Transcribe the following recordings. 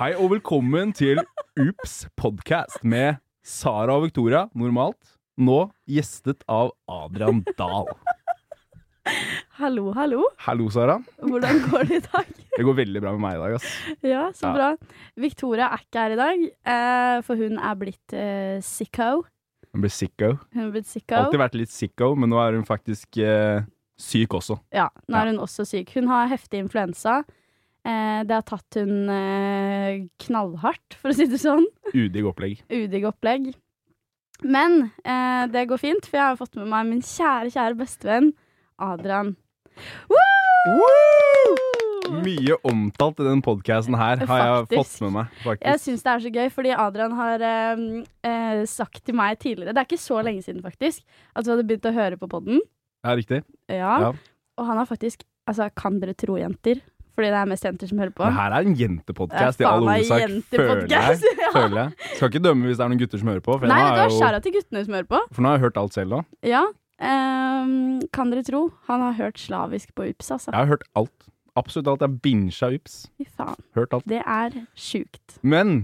Hei og velkommen til Ups podcast med Sara og Victoria, normalt. Nå gjestet av Adrian Dahl. Hallo, hallo. Hallo, Sara. Hvordan går det i dag? Det går veldig bra med meg i dag, ass. Ja, så Ja. bra. Victoria er ikke her i dag, eh, for hun er blitt eh, sicko. Hun ble sicko. Hun er blitt sicko. Alltid vært litt sicko, men nå er hun faktisk eh, syk også. Ja, nå er hun også syk. Hun har heftig influensa. Eh, det har tatt hun eh, knallhardt, for å si det sånn. Udigg opplegg. Udigg opplegg. Men eh, det går fint, for jeg har fått med meg min kjære, kjære bestevenn Adrian. Woo! Mye omtalt i den podcasten her har jeg fått Faktisk. med meg, Jeg faktisk. syns det er så gøy, fordi Adrian har eh, eh, sagt til meg tidligere Det er ikke så lenge siden, faktisk, at du hadde begynt å høre på podden. Ja, riktig. Ja. Ja. Og han har faktisk Altså, kan dere tro jenter? Fordi det er mest jenter som hører på. Det her er en jentepodcast i Det er all faen meg hovedsak, føler jeg. jentepodcast, ja. Føler jeg. Skal ikke dømme hvis det er noen gutter som hører på, for, nå, Nei, vet du hva, er jo, skjæra til guttene som hører på. for nå har jeg hørt alt selv nå. Ja. ehm, kan dere tro? Han har hørt slavisk på UPS, altså. Jeg har hørt alt. Absolutt alt. Jeg binsja ups. Fy faen. Hørt alt. Det er sjukt. Men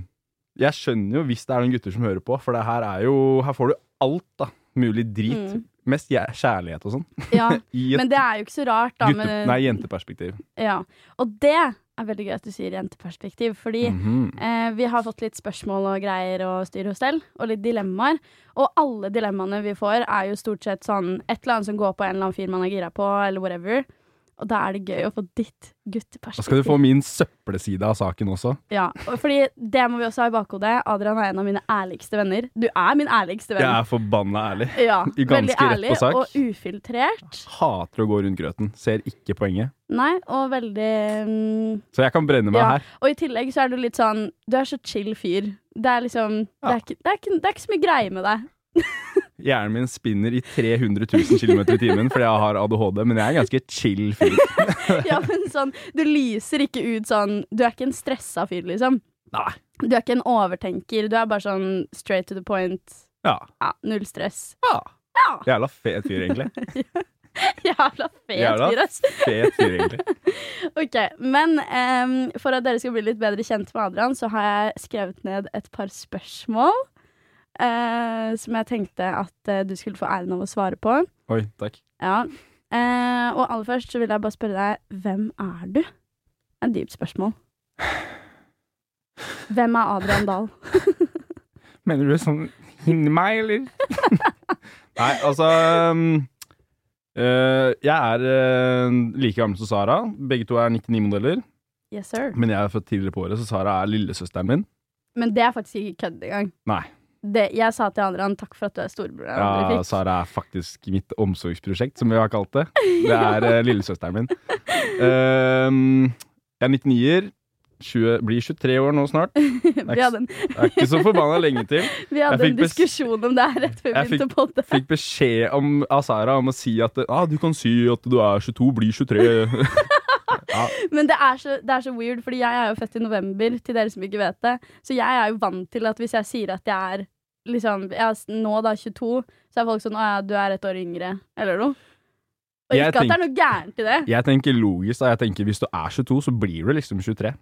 jeg skjønner jo hvis det er noen gutter som hører på, for det her er jo Her får du alt, da. Mulig drit. Mm. Mest jæ- kjærlighet og sånn. Ja. I et Men det er jo ikke så rart, da. gutte, Med, nei, jenteperspektiv. ja. Og det er veldig gøy at du sier jenteperspektiv, fordi Mhm. Eh, vi har fått litt spørsmål og greier og styr og stell, og litt dilemmaer. Og alle dilemmaene vi får, er jo stort sett sånn et eller annet som går på en eller annen fyr man er gira på, eller whatever. Og da er det gøy å få ditt Da skal gutteperspektiv. du få min søppelside av saken også. Ja, og fordi det må vi også ha i bakhodet. Adrian er en av mine ærligste venner. Du er min ærligste Jeg venn. er forbanna ærlig. Ja, I ganske rett veldig på ærlig sak. og ufiltrert. Hater å gå rundt grøten. Ser ikke poenget. Nei, og veldig mm, Så jeg kan brenne meg Ja. her. Og i tillegg så er du litt sånn Du er så chill fyr. Det er liksom det, er ikke, det, er ikke, det er ikke så mye greie med deg. Hjernen min spinner i 300 000 km i timen fordi jeg har ADHD, men jeg er en ganske chill fyr. Ja, men sånn, du lyser ikke ut sånn Du er ikke en stressa fyr, liksom. Nei. Du er ikke en overtenker. Du er bare sånn straight to the point. Ja. Ja, null stress. ja. Ja. Jævla fet fyr, egentlig. Jævla fet Jævla fyr, ass. Fet fyr, egentlig. Ok, Men em, for at dere skal bli litt bedre kjent med Adrian, så har jeg skrevet ned et par spørsmål. eh, som jeg tenkte at eh, du skulle få æren av å svare på. Oi, takk. Ja. Eh, og aller først så vil jeg bare spørre deg hvem er du? Det er et dypt spørsmål. Hvem er Adrian Dahl? Mener du sånn hinne meg, eller? Nei, altså um, øh, Jeg er øh, like gammel som Sara. Begge to er 99-modeller. Yes, sir. Men jeg er født tidligere på året, så Sara er lillesøsteren min. Men det er faktisk ikke kødd engang. Nei. Det, jeg sa til Adrian takk for at du er storebror. jeg aldri Ja, fikk. Sara er faktisk mitt omsorgsprosjekt, som vi har kalt det. Det er eh, lillesøsteren min. Ehm, jeg er 99-er. 20, blir 23 år nå snart. Det vi hadde en, er ikke så forbanna lenge til. vi hadde fikk en bes- diskusjon om det her rett før vi Jeg begynte på det. Fikk beskjed om, av Sara om å si at ah, du kan si at du er 22, blir 23. Men det er, så, det er så weird, fordi jeg er jo født i november, til dere som ikke vet det. Så jeg er jo vant til at hvis jeg sier at jeg er liksom, jeg er s- nå da 22, så er folk sånn 'Å ja, du er et år yngre', eller noe. Og Jeg ikke at det er noe gærent i det. Jeg tenker logisk. Da. Jeg tenker Hvis du er 22, så blir du liksom 23.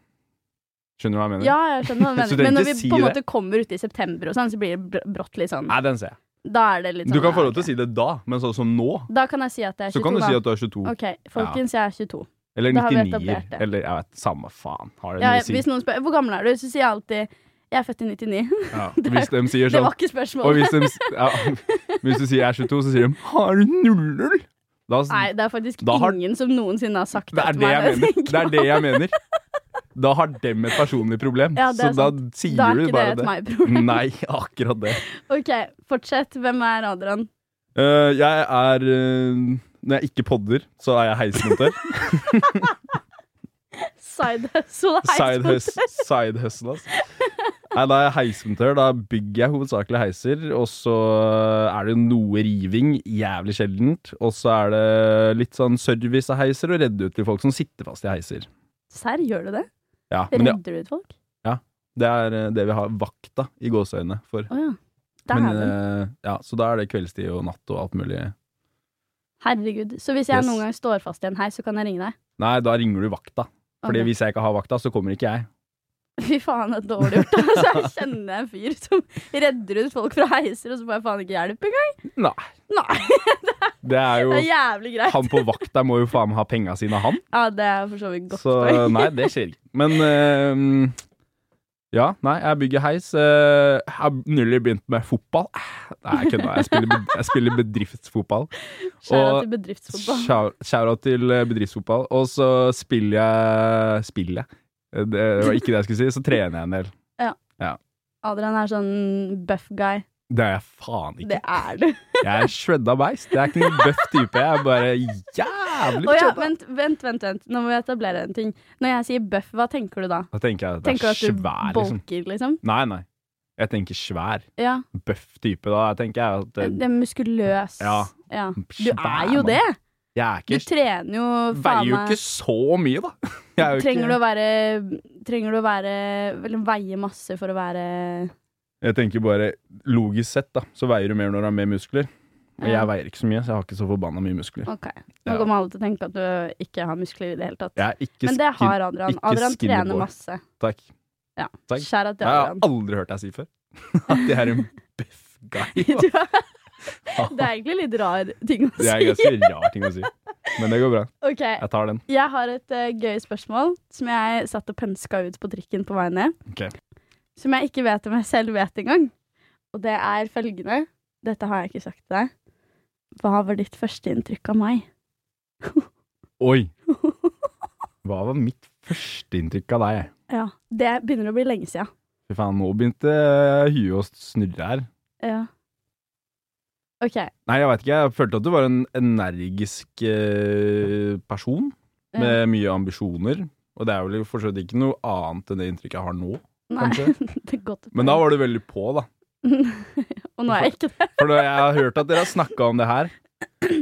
Skjønner du hva jeg mener? Ja, jeg skjønner hva du Så du mener. Men trenger når ikke vi si på en det. måte kommer ut i september og sånn, så blir det br- brått litt sånn Nei, den ser jeg. Da er det litt sånn Du kan få ja, lov til å ok. si det da, men sånn som nå, Da kan jeg si at jeg er 22, så kan du si da. at du er 22. OK, folkens, jeg er 22. Eller Da har vi 99-er. etablert det. Eller jeg vet, samme faen. Har det Jeg, noe å si? hvis noen spør 'Hvor gammel er du?', så sier jeg alltid 'Jeg er født i 99'. Ja, hvis de sier Det sånn var ikke spørsmålet. Og hvis, de, s- ja, hvis du sier jeg er 22, så sier de har du nuller? Da, s- Nei, det er faktisk Da har- ingen som noensinne har sagt det er til det jeg meg mener. tenker Det er det jeg mener. Da har dem et personlig problem. Ja, det så er da sant. sier Da er du ikke bare Mm. det et meg-problem. Nei, akkurat det. OK, fortsett. Hvem er Adrian? Eh, jeg er eh, Når jeg ikke podder, så er jeg heismontør. Side hustle Side heismotor. hus- side hustle, altså. Nei, da er jeg heismontør. Da bygger jeg hovedsakelig heiser. Og så er det noe riving, jævlig sjeldent. Og så er det litt sånn service av heiser og redde ut til folk som sitter fast i heiser. Serr, gjør du det? Ja, men det, Redder du ut folk? det er eh, det vi har vakta i gåseøynene for. Å ja. Men, Dæven. eh, ja, så da er det kveldstid og natt og alt mulig Herregud. Så hvis jeg Yes. noen gang står fast i en heis, så kan jeg ringe deg? Nei, da ringer du vakta. Fordi Ok. hvis jeg ikke har vakta, så kommer ikke jeg. Fy faen, det er dårlig gjort. Altså, jeg kjenner en fyr som redder ut folk fra heiser, og så får jeg faen ikke hjelp engang. Nei. Nei, Det er det jo er jævlig greit. Han på vakta må jo faen meg ha penga sine, han. Ja, det er for så vidt godt Så um, poeng. nei, det skjer ikke. Men eh, ja, nei, jeg bygger heis. Eh, jeg har nylig begynt med fotball. Eh, Nei, jeg kødder. Jeg spiller, bed- jeg spiller bedriftsfotball. Skjæra og- til bedriftsfotball. Shout-out til eh, bedriftsfotball. Og så spiller jeg Spiller jeg? Eh, Det var ikke det jeg skulle si. Så trener jeg en del. Adrian er sånn buff guy. Det er jeg faen Det ikke. er du. Jeg er shredda beist. Jeg er ikke noen bøff type. Jeg er bare Å jævlig ja, shredda. vent, vent, vent, vent. Nå må vi etablere en ting. Når jeg sier buff, hva tenker du da? Da tenker jeg at det Tenker du er at du svær, liksom. bulker, liksom? Nei, nei. Jeg tenker svær. Ja. Bøff type, da. Jeg tenker jeg at Det eh, er muskuløs. Ja. Ja. Du svær er jo mann. det! Jeg er Du ikke trener jo Veier faen jo meg ikke så mye, da. Jeg er jo Trenger du ikke, å være Trenger du å være Eller veie masse for å være Jeg tenker bare logisk sett, da, så veier du mer når du har mer muskler. Og Ja. jeg veier ikke så mye, så jeg har ikke så forbanna mye muskler. OK. Nå Ja. kommer alle til å tenke at du ikke har muskler i det hele tatt. Jeg er ikke Men det skin... har Adrian. ikke Adrian skinny trener boy. masse. Takk. Takk. Skjæra til Jeg har Adrian. aldri hørt deg si før at jeg er en buff guy. Du er- Det er egentlig litt rar ting å Det er en si. ganske rar ting å si. Men det går bra. OK. Jeg tar den. Jeg har et eh, gøy spørsmål som jeg satt og penska ut på trikken på vei ned. Ok. Som jeg ikke vet om jeg selv vet engang. Og det er følgende Dette har jeg ikke sagt til deg. Hva var ditt førsteinntrykk av meg? Oi! Hva var mitt førsteinntrykk av deg? Ja, Det begynner å bli lenge sia. Fy faen, nå begynte eh, huet å snurre her. Ja. OK. eh, Nei, jeg veit ikke. Jeg følte at du var en energisk eh, person Ja. med mye ambisjoner. Og det er vel for så vidt ikke noe annet enn det inntrykket jeg har nå. Nei, Kanskje. det er godt. Men da var du veldig på, da. Og nå er jeg ikke det. For da- jeg har hørt at dere har snakka om det her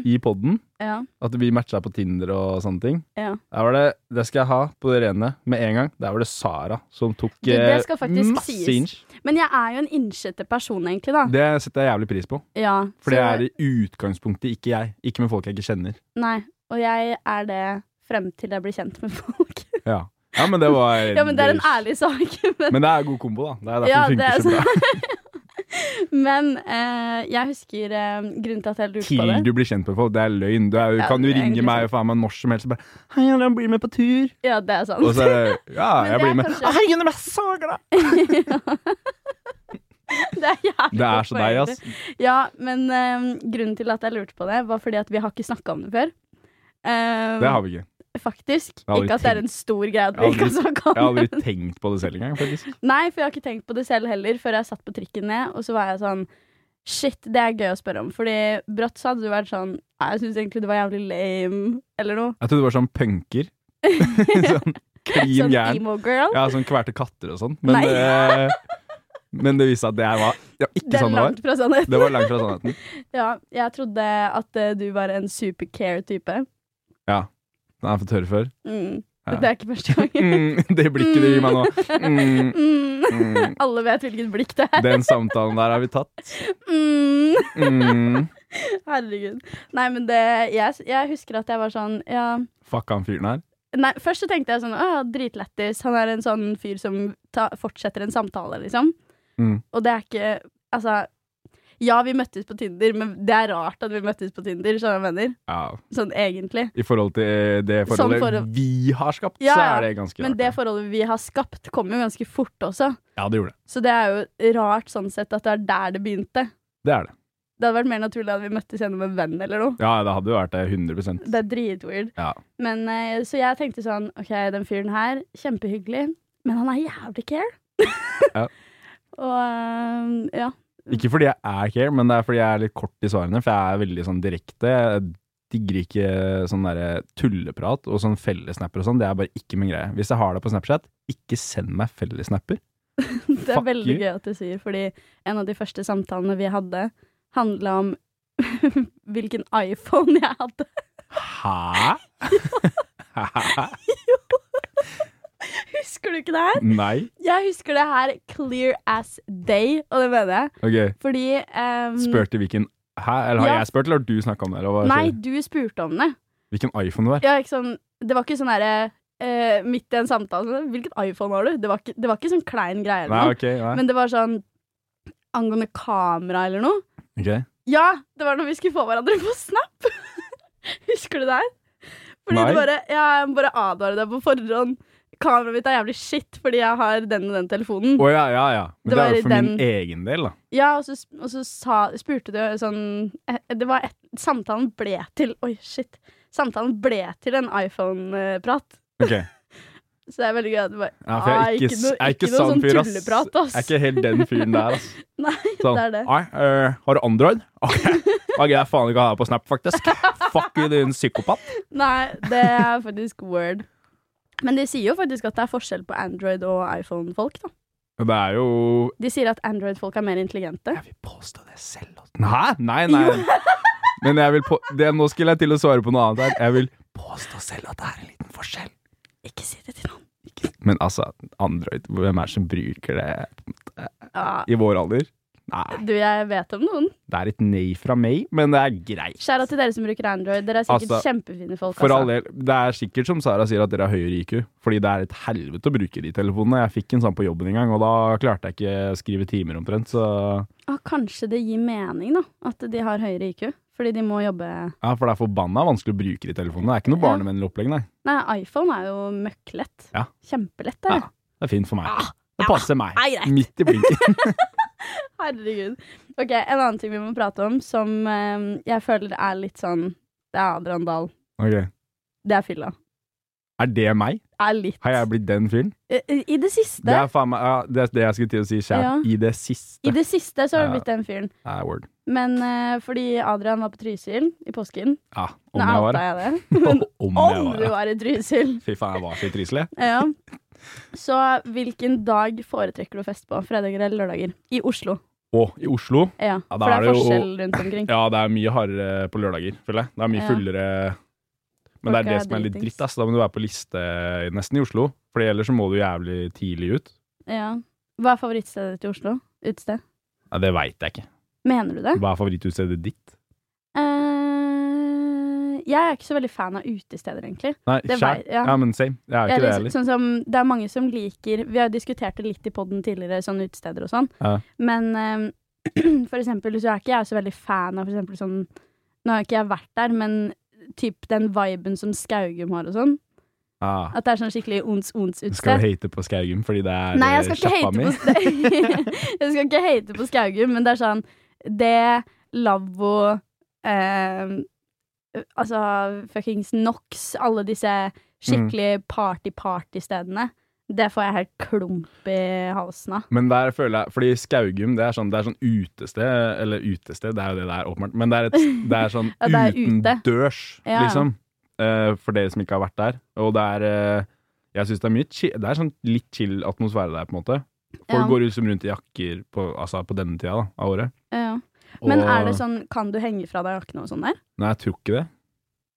i poden. Ja. At vi matcha på Tinder og sånne ting. Ja. Der var det, det skal jeg ha på det rene med en gang. Der var det Sara som tok Du, det eh, skal faktisk masse sies. inch. Men jeg er jo en innsjette person, egentlig, da. Det setter jeg jævlig pris på. Ja, Mm. For det så- er i utgangspunktet ikke jeg. Ikke med folk jeg ikke kjenner. Nei, og jeg er det frem til jeg blir kjent med folk. Ja, ja men det var ja, men det er en ærlig sak. Men, Men det er god kombo, da. Det er derfor Ja, det det er funker så bra. men eh, jeg husker eh, grunnen til at jeg lurte på til det. du blir kjent med folk. Det er løgn. Du er, jo- Ja, kan jo det er ringe egentlig meg faen meg når som helst og bare 'Hei, Adrian, blir du med på tur?' Ja, det er sant. Og så er det 'Ja, Men jeg det blir er med'. kanskje- «Å, 'Herregud, jeg er så glad!' det er jævlig Det er godt så poeng, deg, det. ass. Ja, men eh, grunnen til at jeg lurte på det, var fordi at vi har ikke snakka om det før. Eh, Det har vi ikke. Faktisk. har aldri Ikke at det er en stor greie at vi Jeg har ikke har snakka Jeg har om det. aldri tenkt på det selv engang, faktisk. Nei, for jeg har ikke tenkt på det selv heller før jeg satt på trikken ned, og så var jeg sånn Shit, det er gøy å spørre om. Fordi brått så hadde du vært sånn Nei, jeg syns egentlig det var jævlig lame, eller noe. Jeg trodde du var sånn punker. sånn klin Sånn gæren. emo girl. Ja, sånn kverte katter og sånn. Men, Nei. eh, men det viste seg at det var ja, ikke det sånn er det var. langt fra sannheten. Det var langt fra sannheten. Ja, jeg trodde at eh, du var en supercare-type. Den har jeg fått høre før. Mm. Ja. Det er ikke første gang. Mm, det blikket du gir meg nå. Mm, Mm. mm. Alle vet hvilket blikk det er. Den samtalen der har vi tatt. Mm. Mm. Herregud. Nei, men det jeg, jeg husker at jeg var sånn Ja. Fuck han fyren her. Nei, først så tenkte jeg sånn Å, dritlættis. Han er en sånn fyr som ta, fortsetter en samtale, liksom. Mm. Og det er ikke Altså, ja, vi møttes på Tinder, men det er rart at vi møttes på Tinder, skjønner du hva jeg mener? Ja, Sånn egentlig. I forhold til eh, det Sånn forholdet forhold- vi har skapt, Ja, så ja. er det ganske Men rart, det ja. forholdet vi har skapt, kom jo ganske fort også. Ja, det gjorde det. Så det er jo rart sånn sett at det er der det begynte. Det er det. Det hadde vært mer naturlig at vi møttes gjennom en venn eller noe. Ja, det hadde jo vært det 100 Det er dritweird. Ja. Men, eh, så jeg tenkte sånn OK, den fyren her, kjempehyggelig, men han er jævlig care. Ja. Og eh, ja. Ikke fordi jeg er care, men det er fordi jeg er litt kort i svarene, for jeg er veldig sånn direkte. Jeg digger ikke sånn derre tulleprat og sånn fellesnapper og sånn. Det er bare ikke min greie. Hvis jeg har det på Snapchat, ikke send meg fellesnapper. Det er Fuck veldig you. gøy at du sier, fordi en av de første samtalene vi hadde, handla om hvilken iPhone jeg hadde. Hæ? Hæ? Husker du ikke det her? Nei? Jeg husker det her clear as day, og det mener jeg. Ok, Fordi ehm, spurte hvilken Hæ? Eller har Ja. jeg spurt, eller har du snakka om det? Eller hva Nei, skjer? du spurte om det. Hvilken iPhone du har? Ja, ikke sånn, det var ikke sånn derre eh, Midt i en samtale sånn, Hvilken iPhone har du? Det var ikke, det var ikke sånn klein greie. Nei, Eller noe. ok. Nei. Men det var sånn angående kamera eller noe. Ok. Ja, det var når vi skulle få hverandre på Snap! Husker du det her? Fordi Nei. du bare ja, Jeg må bare advare deg på forhånd. Kameraet mitt er jævlig shit fordi jeg har den og den telefonen. Å ja, ja, ja. Men Det det, var er jo for den- min egen del, da. Ja, og så, og så sa, spurte du sånn eh, Det var et, Samtalen ble til Oi, shit. Samtalen ble til en eh, iPhone-prat. Ok. Så det er veldig gøy at du bare Ja, for jeg Ah, er ikke, ikke noe- jeg er ikke ikke noe sann sånn fyr, ass. tulleprat, ass. Jeg er ikke helt den fyren der, ass. Nei, Sånn, det er det. Nei, eh, har du Android? Ok, Ok, jeg faen ikke ha deg på Snap, faktisk. Fuck you, din psykopat. Nei, det er faktisk word. Men de sier jo faktisk at det er forskjell på Android- og iPhone-folk. da. Det er jo De sier at Android-folk er mer intelligente. Jeg vil påstå det selv. ass. Hæ? Nei, nei. Men jeg vil på... det, nå skulle jeg til å svare på noe annet her. Jeg vil påstå selv at det er en liten forskjell. Ikke si det til noen. Men altså, Android, hvem er det som bruker det Ja, i vår alder? Nei, du, jeg vet om noen. det er et nei fra meg, men det er greit. Skjæra til dere som bruker Android. Dere er sikkert Altså, kjempefine folk. For altså. all del, Det er sikkert som Sara sier, at dere har høyere IQ. Fordi det er et helvete å bruke de telefonene. Jeg fikk en sånn på jobben en gang, og da klarte jeg ikke å skrive timer omtrent. Så Ah, kanskje det gir mening, da, at de har høyere IQ. Fordi de må jobbe ja, For det er forbanna vanskelig å bruke de telefonene. Det er ikke noe Ja. barnevennlig opplegg, nei. Nei, iPhone er jo møkklett. Ja. Kjempelett, det. Ja. Det er fint for meg. Ah, Det passer meg. Nei, greit. Midt i blinken. Herregud. Ok, En annen ting vi må prate om, som eh, jeg føler er litt sånn Det er Adrian Dahl. Ok. Det er fylla. Er det meg? Er litt Har jeg blitt den fyren? I, I det siste Det er faen meg ja, Det er det jeg skulle til å si sjæl. Ja. I det I siste. det siste så har du Ja. blitt den fyren. Nei, word. Men eh, fordi Adrian var på Trysil i påsken Ja, om Nå jeg var outa det. jeg det. Men Om jeg om var du det. var i Trysil! Fy faen, jeg var så trivselig. Ja. Så hvilken dag foretrekker du å feste på? Fredager eller lørdager? I Oslo. Å, i Oslo Ja, Ja, da For er det er det jo- forskjell rundt omkring. Ja, det er mye hardere på lørdager, føler jeg. Det er mye Ja. fullere Men det Folk er det er som er litt dritings. dritt. Ass. Da må du være på liste nesten i Oslo, for ellers så må du jævlig tidlig ut. Ja. Hva er favorittstedet til Oslo? Utested? Nei, det veit jeg ikke. Mener du det? Hva er favorittutstedet ditt? eh jeg er ikke så veldig fan av utesteder, egentlig. Nei, Det kjær. vei- ja. Ja. men same. Jeg er jo Jeg ikke det er litt, heller. sånn som, det er mange som liker Vi har jo diskutert det litt i poden tidligere, sånn utesteder og sånn. Ja. Men eh, for eksempel så er ikke jeg så veldig fan av for eksempel sånn Nå har ikke jeg vært der, men typ den viben som Skaugum har og sånn. Ah. At det er sånn skikkelig ons-ons-utested. Skal du hate på Skaugum fordi det er Nei, jeg eh, skal, ikke sjappa hate mi? på, jeg skal ikke hate på Skaugum, men det er sånn Det lavvo eh, Altså fuckings NOx, alle disse Mm. skikkelig party-party-stedene. Det får jeg helt klump i halsen av. Men der føler jeg Fordi Skaugum, det er sånn, det er sånn utested Eller utested, det er jo det det er, åpenbart. Men det er, et, det er sånn Ja, det er ute. utendørs, Ja. liksom. Eh, for dere som ikke har vært der. Og det er eh, Jeg syns det er mye chi- Det er sånn litt chill atmosfære der, på en måte. Folk Ja. går liksom rundt i jakker på, altså på denne tida da, av året. Ja. Men Og- er det sånn Kan du henge fra deg jakkene og sånn der? Nei, jeg tror ikke det.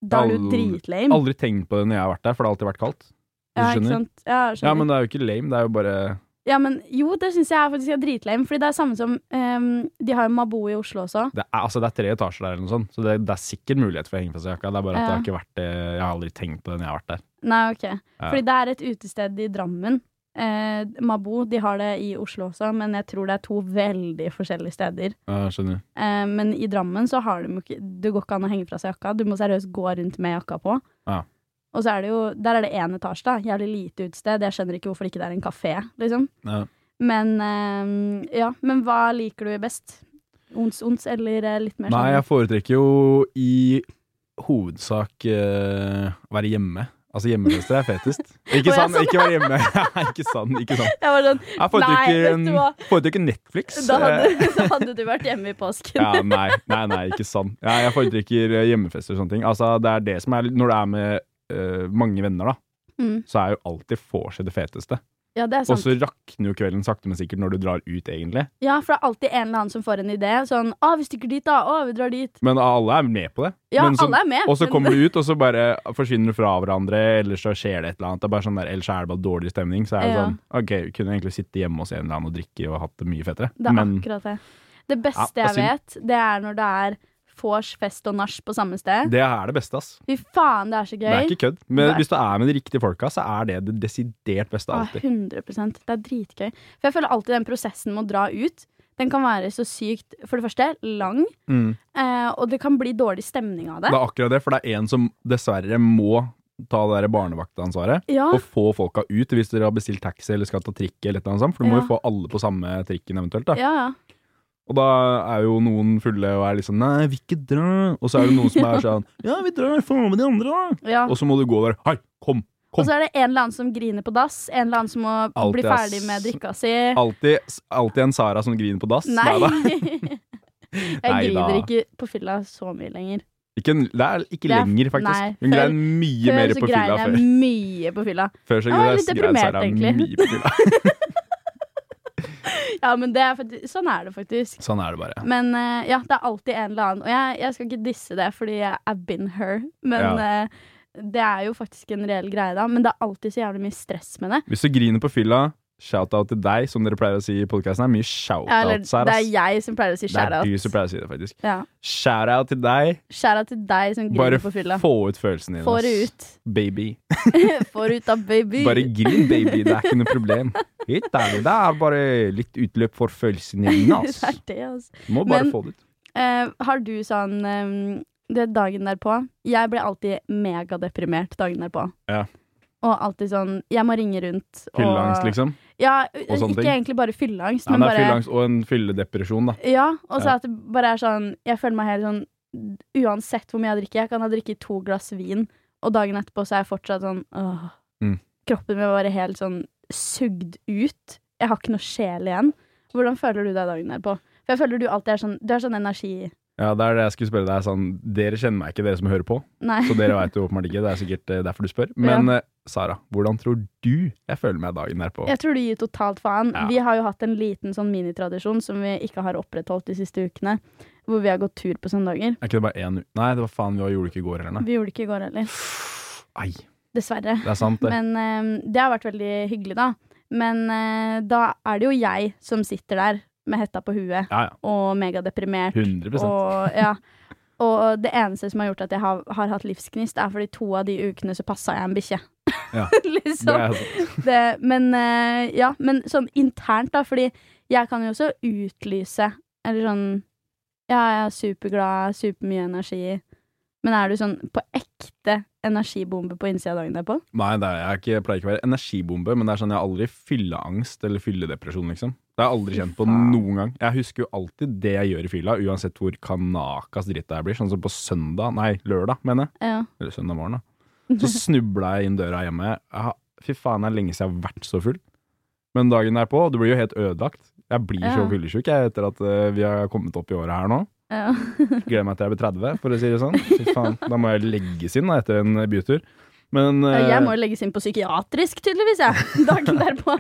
Da er du Aldri. dritlame. Aldri tenkt på det når jeg har vært der, for det har alltid vært kaldt. Hvis Ja, du ikke skjønner? sant? Ja, jeg skjønner. Ja, men det er jo ikke lame, det er jo bare ja, men jo, det syns jeg er faktisk er dritlame, fordi det er samme som ehm, De har jo Mabo i Oslo også. det er, altså det er tre etasjer der, eller noe sånt, så det, det er sikkert mulighet for å henge fra seg jakka. Det er bare at det har ikke vært det, jeg har aldri tenkt på det når jeg har vært der. Nei, ok. Fordi det er et utested i Drammen. Eh, Mabo de har det i Oslo også, men jeg tror det er to veldig forskjellige steder. Ja, jeg skjønner. Eh, men i Drammen så har de jo ikke Det går ikke an å henge fra seg jakka. Du må seriøst gå rundt med jakka på. Ja. Og så er det jo Der er det én etasje, da. Jævlig lite utested. Jeg skjønner ikke hvorfor det ikke er en kafé, liksom. Ja. Men eh, ja. Men hva liker du best? Ons, ons eller eh, litt mer Nei, sånn jeg foretrekker jo i hovedsak eh, være hjemme. Altså hjemmefester er fetest. Ikke Å, ja, sant? Ikke være hjemme. Nei, ikke sant. Ikke sant. Jeg var sånn Jeg Nei, foretrekker, vet du en- hva? foretrekker Netflix. da Eh, hadde, da hadde du vært hjemme i påsken. Ja, nei, nei, nei, ikke sant. Ja, jeg foretrekker eh, hjemmefester og sånne ting. Altså, det er det som er Når det er med eh, mange venner, da, Mm. så er jo alltid vorset det feteste. Ja, det er Og sant. så rakner jo kvelden sakte, men sikkert når du drar ut, egentlig. Ja, for det er alltid en eller annen som får en idé. Sånn 'Å, vi stikker dit, da. Å, vi drar dit.' Men alle er med på det. Ja, men som- alle er med. Og så men- kommer du ut, og så bare forsvinner du fra hverandre, eller så skjer det et eller annet. Det er bare sånn der, Ellers er det bare dårlig stemning. Så er det Ja. sånn OK, vi kunne egentlig sitte hjemme hos en eller annen og drikke og hatt det mye fettere. Det er Men akkurat det. Det beste Ja, jeg det er vet, det er når det er vors, fest og nach på samme sted. Det er det beste, ass. Fy faen, det er så gøy. Det er ikke kødd. Men Nei. hvis du er med de riktige folka, så er det det desidert beste Ah, alltid. 100 Det er dritgøy. For jeg føler alltid den prosessen med å dra ut, den kan være så sykt For det første lang, Mm. eh, og det kan bli dårlig stemning av det. Det er akkurat det, for det er en som dessverre må ta det der barnevaktansvaret. Ja, Og få folka ut hvis dere har bestilt taxi eller skal ta trikk. eller et eller annet sånt, For du må Ja. jo få alle på samme trikken eventuelt. da. ja, ja. Og da er jo noen fulle og er liksom 'nei, vi ikke drar'. Og så er det noen som er sånn 'ja, vi drar, få med de andre', da. ja. Og så må du gå der. 'Hei, kom'. Og så er det en eller annen som griner på dass, en eller annen som må Alltid, bli ass. ferdig med drikka si. Alltid, alltid en Sara som griner på dass. Nei! Neida. Jeg Neida. griner ikke på fylla så mye lenger. Ikke, en- det er ikke Det er- lenger, faktisk. nei, Hun før- grein mye mer Før Eh, så på fylla grein jeg før. mye på fylla. Før så Jeg var litt grein deprimert, Sara egentlig. mye på fylla. Ja, men det er faktisk, sånn er det faktisk. Sånn er det bare. Men eh, ja, det er alltid en eller annen. Og jeg, jeg skal ikke disse det, fordi jeg er been her. Men eh, det er jo faktisk en reell greie, da. Men det er alltid så jævlig mye stress med det. Hvis du griner på fylla, shout-out til deg, som dere pleier å si i podkasten. Det er mye Ja, Eller, shout-outs her. det er ass. jeg som pleier å si Det er du som skjæra. pleier å si det, faktisk. Ja. Shout-out til deg. Skjæra til deg som Bare griner på fylla. få ut følelsen din. Få det ass. ut. Baby. Få det ut da, baby. Bare grin, baby. Det er ikke noe problem. Helt ærlig, det er bare litt utløp for følelsene dine, ass. det er det, altså. Må bare Men- få det ut. Eh, har du sånn eh, Det er dagen derpå. Jeg ble alltid megadeprimert dagen derpå. Ja. Og alltid sånn Jeg må ringe rundt og Fylleangst, liksom. Ja, sånne ikke ting. egentlig bare fylleangst, Nei, men det er bare fylleangst og en fylledepresjon, da. Ja, og så Ja. at det bare er sånn Jeg føler meg helt sånn Uansett hvor mye jeg drikker, jeg kan ha drikket to glass vin, og dagen etterpå så er jeg fortsatt sånn åh. Mm. Kroppen min var bare helt sånn sugd ut. Jeg har ikke noe sjel igjen. Hvordan føler du deg dagen derpå? For jeg føler du alltid er sånn Du er sånn energi... Ja, det er det jeg skulle spørre deg. Sånn, dere kjenner meg ikke, dere som hører på. Nei. Så dere veit jo åpenbart ikke. Det er sikkert eh, derfor du spør. Men eh, Sara, hvordan tror du jeg føler meg dagen derpå? Jeg tror du gir totalt faen. Ja. Vi har jo hatt en liten sånn minitradisjon som vi ikke har opprettholdt de siste ukene, hvor vi har gått tur på søndager. Er ikke det bare én uke? Nei, det var faen, vi gjorde det ikke i går heller, nei. Vi gjorde det ikke i går heller. Ei, Dessverre. det er sant, det. Men eh, det har vært veldig hyggelig, da. Men eh, da er det jo jeg som sitter der med hetta på huet Ja, ja. og megadeprimert. 100 Og, ja. og det eneste som har gjort at jeg har, har hatt livsgnist, er fordi to av de ukene så passa jeg en bikkje. Ja. liksom. Det er altså- sant. det, men eh, ja, men sånn internt da, fordi jeg kan jo også utlyse, eller sånn, ja, jeg er superglad, supermye energi, men er du sånn på ekte energibombe på innsida av dagen derpå? Nei, det er, jeg er ikke, jeg pleier ikke å være energibombe, men det er sånn jeg har aldri fylleangst eller fylledepresjon, liksom. Det har jeg aldri kjent på faen. noen gang. Jeg husker jo alltid det jeg gjør i fylla, uansett hvor kanakas dritt det her blir. Sånn som på søndag, nei, lørdag, mener jeg. Ja. Eller søndag morgen, da. Så snubla jeg inn døra hjemme. Jeg har, fy faen, det er lenge siden jeg har vært så full. Men dagen derpå, du blir jo helt ødelagt. Jeg blir så Ja. fyllesyk jeg, etter at eh, vi har kommet opp i året her nå. Ja. Gleder meg til jeg blir 30, for å si det sånn. Fy faen, da må jeg legges inn da, etter en bytur. Men eh, Jeg må jo legges inn på psykiatrisk, tydeligvis, jeg, dagen derpå.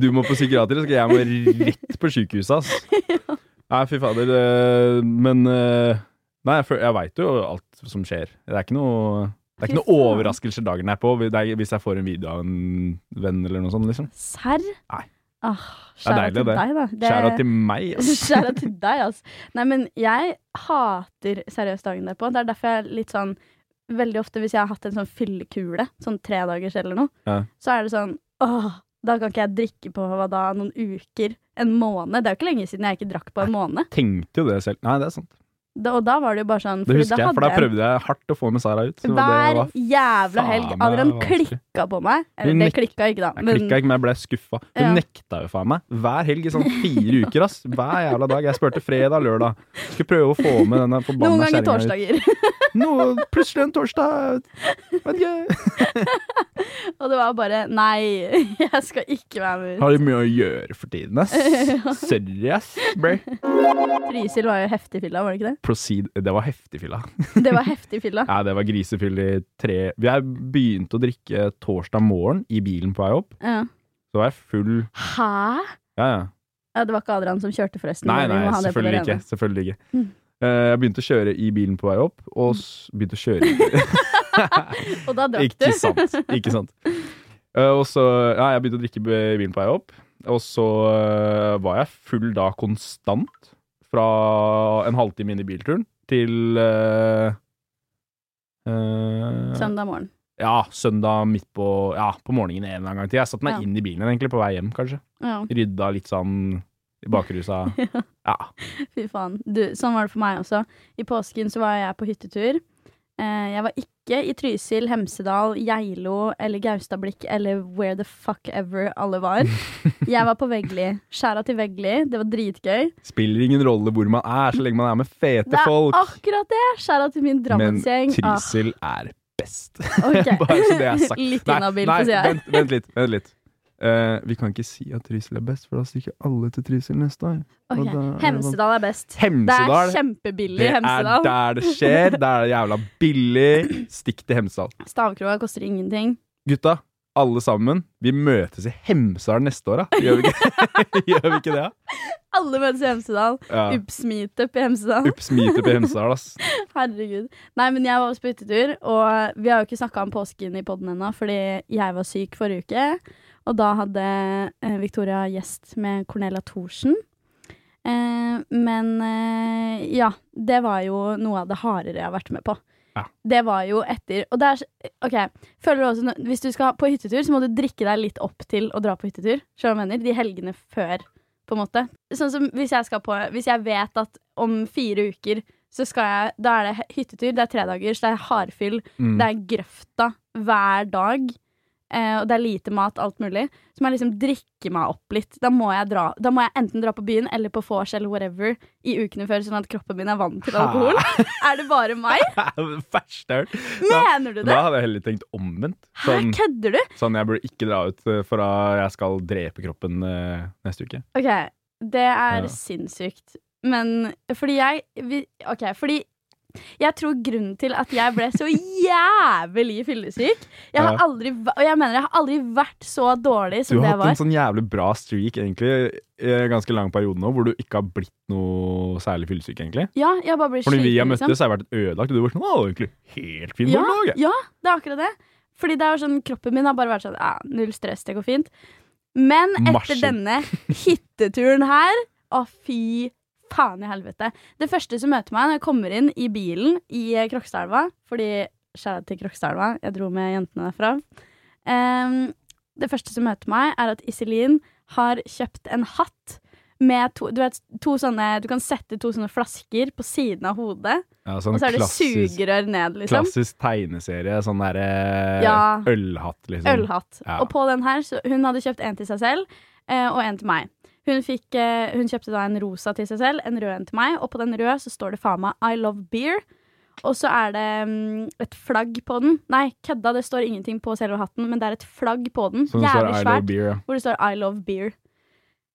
du må på psykiatrisk, og jeg må rett på sykehuset, ass. Nei, fy fader. eh, Men eh, Nei, jeg, føl- jeg veit jo alt som skjer. Det er ikke noe det er ikke Fy noe faen. overraskelse dagen er på hvis jeg får en video av en venn eller noe sånt. liksom. Serr? Nei. Ah, Det er skjæra deilig, til det. deg, da. Det- Skjæra til meg, ass. Skjæra til deg, altså. Nei, men jeg hater seriøst dagen derpå. Det er derfor jeg er litt sånn Veldig ofte hvis jeg har hatt en sånn fyllekule, sånn tre dagers eller noe, Ja. så er det sånn åh, da kan ikke jeg drikke på hva da, noen uker, en måned. Det er jo ikke lenge siden jeg ikke drakk på en måned. Tenkte jo det selv. Nei, det er sant. Da, og da var det jo bare sånn Det fordi husker jeg, for da hadde prøvde jeg hardt å få med Sara ut. Så jeg det hver var, jævla faen helg. meg Adrian vanskelig. klikka på meg. Hun Eller, det nek- klikka ikke, da. jeg klikka ikke, men jeg ble skuffa. Hun Ja. nekta jo faen meg hver helg i sånn fire uker. ass. Hver jævla dag. Jeg spurte fredag, lørdag. Skulle prøve å få med denne noen forbanna ganger kjerringa ut. torsdager. Nå, plutselig en torsdag Vet ikke. og det var bare Nei, jeg skal ikke være med ut. Har mye å gjøre for tiden, ass. Sorry, ass. Bro. Trysil var jo heftig fylla, var det ikke Proceed. Det var heftig fylla. det? Det var heftig fylla. Ja, det var grisefyll i tre Vi er begynte å drikke torsdag morgen i bilen på vei opp. Ja. Så var jeg full Hæ? Ja, ja. Ja, det var ikke Adrian som kjørte, forresten. Nei, Vi må nei, ha det på det selvfølgelig ikke. rene. Selvfølgelig ikke. Mm. Eh, Jeg begynte å kjøre i bilen på vei opp, og s- begynte å kjøre Og da drakk du. Ikke sant. Ikke sant. Eh, og så, ja, jeg begynte å drikke b- vin på vei opp, og så eh, var jeg full da konstant. fra en halvtime inn i bilturen til eh, eh, Søndag morgen. Ja, søndag midt på Ja, på morgenen en eller annen gang til. Jeg satte meg Ja. inn i bilen egentlig på vei hjem, kanskje. Ja, Rydda litt sånn i bakrusa. ja. fy faen. Du, sånn var det for meg også. I påsken så var jeg på hyttetur. Eh, jeg var ikke i Trysil, Hemsedal, Geilo eller Gaustablikk eller where the fuck ever alle var. Jeg var på Vegli. Skjæra til Vegli. Det var dritgøy. Spiller ingen rolle hvor man er, så lenge man er med fete Det er folk. akkurat det! Skjæra til min Men Drammensgjeng. Ah, Trysil er best. ok. Bare så det er sagt. Litt Nei, inhabil, nei, får si jeg. Vent, vent litt. Vent litt. Eh, vi kan ikke si at Trysil er best, for da stikker alle til Trysil neste år. Ok. og da er det Hemsedal er best. Det Hemsedal. er kjempebillig Det i er Hemsedal. der det skjer. Det er jævla billig. Stikk til Hemsedal. Stavkroa koster ingenting. Gutta, alle sammen, vi møtes i Hemsedal neste år, da. Gjør vi ikke, Gjør vi ikke det? Alle møtes i Hemsedal. Ja. Ups meetup i Hemsedal. Ups, meetup i Hemsedal, ass. Herregud. Nei, men jeg var også på hyttetur, og vi har jo ikke snakka om påsken i poden ennå, fordi jeg var syk forrige uke. Og da hadde eh, Victoria gjest med Cornelia Thorsen. Eh, men eh, ja, det var jo noe av det hardere jeg har vært med på. Ja. Det var jo etter Og det er s- OK, føler du også nå- Hvis du skal på hyttetur, så må du drikke deg litt opp til å dra på hyttetur. Skjønner du hva jeg mener? De helgene før, på en måte. Sånn som hvis jeg skal på Hvis jeg vet at om fire uker så skal jeg Da er det he- hyttetur, det er tredagers, det er hardfyll, Mm. det er grøfta hver dag. eh, og det er lite mat, alt mulig. Så må jeg liksom drikke meg opp litt. Da må jeg, dra, da må jeg enten dra på byen eller på vors eller whatever i ukene før, sånn at kroppen min er vant til alkohol. Er det bare meg? Det er det verste jeg har hørt. Da- Mener du det? Da hadde jeg heller tenkt omvendt. Hæ, Sånn, kødder du? sånn jeg burde ikke dra ut, eh, for da jeg skal drepe kroppen eh, neste uke. Ok, det er Ja. sinnssykt. Men fordi jeg vi, Ok, fordi jeg tror grunnen til at jeg ble så jævlig fyllesyk Jeg har Ja. aldri, va- Og jeg mener, jeg har aldri vært så dårlig Du som har hatt en det jeg var. sånn jævlig bra streak egentlig i en ganske lang periode nå, hvor du ikke har blitt noe særlig fyllesyk, egentlig. Ja, jeg bare blir For når vi har sliten, møttes, liksom. har jeg vært ødelagt, og du har vært sånn Å, egentlig helt fin Ja, barnehage. ja, det er akkurat det. Fordi det er jo sånn, kroppen min har bare vært sånn ja, Null stress, det går fint. Men etter Marsjer. denne hytteturen her Å, fy faen i helvete. Det første som møter meg når jeg kommer inn i bilen i eh, Krokstadelva Fordi skjæra til Krokstadelva, jeg dro med jentene derfra. Ehm, det første som møter meg, er at Iselin har kjøpt en hatt med to, du vet, to sånne Du kan sette to sånne flasker på siden av hodet, Ja, sånn og så er det klassisk, sugerør ned, liksom. klassisk tegneserie. Sånn derre Ja. ølhatt, liksom. Ølhatt. Ja. Og på den her, så hun hadde kjøpt en til seg selv eh, og en til meg. Hun, fikk, eh, hun kjøpte da en rosa til seg selv, en rød en til meg, og på den røde så står det faen meg I love beer. Og så er det mm, et flagg på den. Nei, kødda, det står ingenting på selve hatten, men det er et flagg på den. Sånn står I Jævlig love svært. beer. ja. Hvor det står I love beer.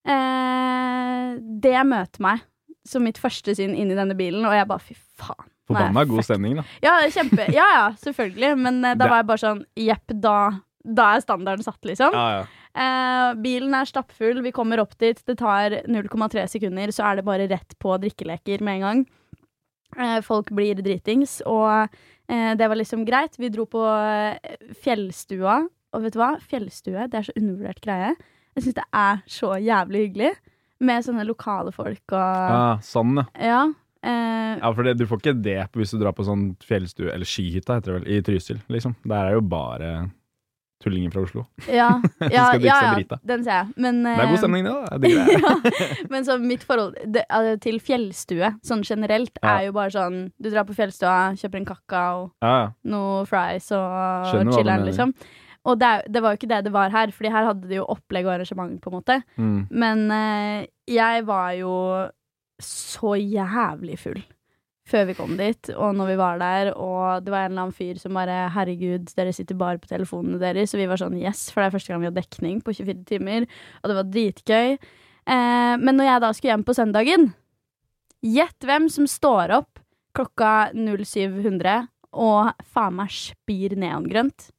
Eh, det møter meg som mitt første syn inn i denne bilen, og jeg bare fy faen. nå er jeg Forbanna fucked. god stemning, da. Ja, kjempe. Ja, ja, selvfølgelig. Men eh, da Det- var jeg bare sånn Jepp, da, da er standarden satt, liksom. Ja, ja. Eh, bilen er stappfull, vi kommer opp dit. Det tar 0,3 sekunder, så er det bare rett på drikkeleker med en gang. Eh, folk blir dritings, og eh, det var liksom greit. Vi dro på eh, fjellstua, og vet du hva? Fjellstue, det er så undervurdert greie. Jeg syns det er så jævlig hyggelig. Med sånne lokale folk og Ah, sånn, ja. Ja. eh, ja for det, du får ikke det på- hvis du drar på sånn fjellstue, eller skihytta, heter det vel, i Trysil, liksom. Der er jo bare tullinger fra Oslo. ja, ja, ja, skal drikke seg ja, drita. den ser jeg. Men, Det er eh, god stemning, det, da. Jeg digger det. Men så mitt forhold det, eh, til fjellstue sånn generelt Ja. er jo bare sånn Du drar på fjellstua, kjøper en kakao, Ja, ja. noe fries og Skjønner hva du chiller'n, mener. liksom. Og det, er- det var jo ikke det det var her, Fordi her hadde de jo opplegg og arrangement, på en måte. Mm. Men eh, jeg var jo så jævlig full før vi kom dit, og når vi var der, og det var en eller annen fyr som bare 'Herregud, dere sitter bare på telefonene deres.' Og vi var sånn 'Yes', for det er første gang vi har dekning på 24 timer, og det var dritgøy. Eh, men når jeg da skulle hjem på søndagen, gjett hvem som står opp klokka 07.00 og faen meg spir neongrønt.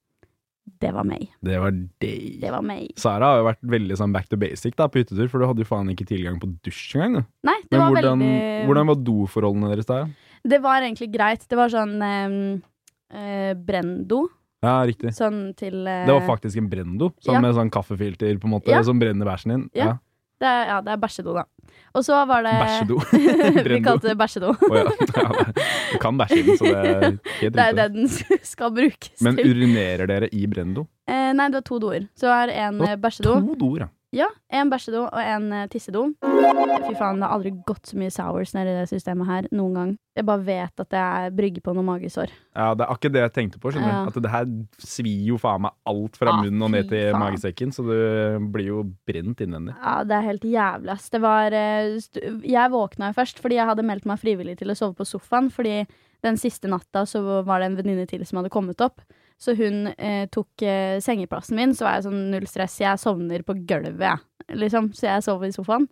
Det var meg. Det var det. Det var meg. Sara har jo vært veldig sånn back to basic da, på hyttetur, for du hadde jo faen ikke tilgang på dusj engang. du. Nei, det Men var hvordan, veldig eh, hvordan var doforholdene deres der? Det var egentlig greit. Det var sånn ehm, eh, Brendo. Ja, riktig. Sånn til eh, Det var faktisk en brendo, sånn ja. med sånn kaffefilter på en måte, Ja. Eh. som brenner bæsjen din. Ja. det er, Ja, det er bæsjedo, da. Og så var det Bæsjedo. Vi Brenndo. kalte det bæsjedo. Å ja. ja. Du kan bæsje i den, så det er helt Det er riktig. det den skal brukes Men til. urinerer dere i Brendo? Eh, nei, det var to doer. Så er en Det eh, bæsjedo. To doer, ja. Ja, en bæsjedo og en eh, tissedo. Fy faen, det har aldri gått så mye sours nedi det systemet her noen gang. Jeg bare vet at det er brygge på noen magesår. Ja, Det er akkurat det jeg tenkte på. skjønner Ja. du At Det her svir jo faen meg alt fra Ah, munnen og ned fy til faen. magesekken, så du blir jo brent innvendig. Ja, det er helt jævlig, ass. Det var eh, st Jeg våkna jo først fordi jeg hadde meldt meg frivillig til å sove på sofaen, fordi den siste natta så var det en venninne til som hadde kommet opp. Så hun eh, tok eh, sengeplassen min, så var jeg sånn null stress, jeg sovner på gulvet, jeg. Liksom, så jeg sover i sofaen.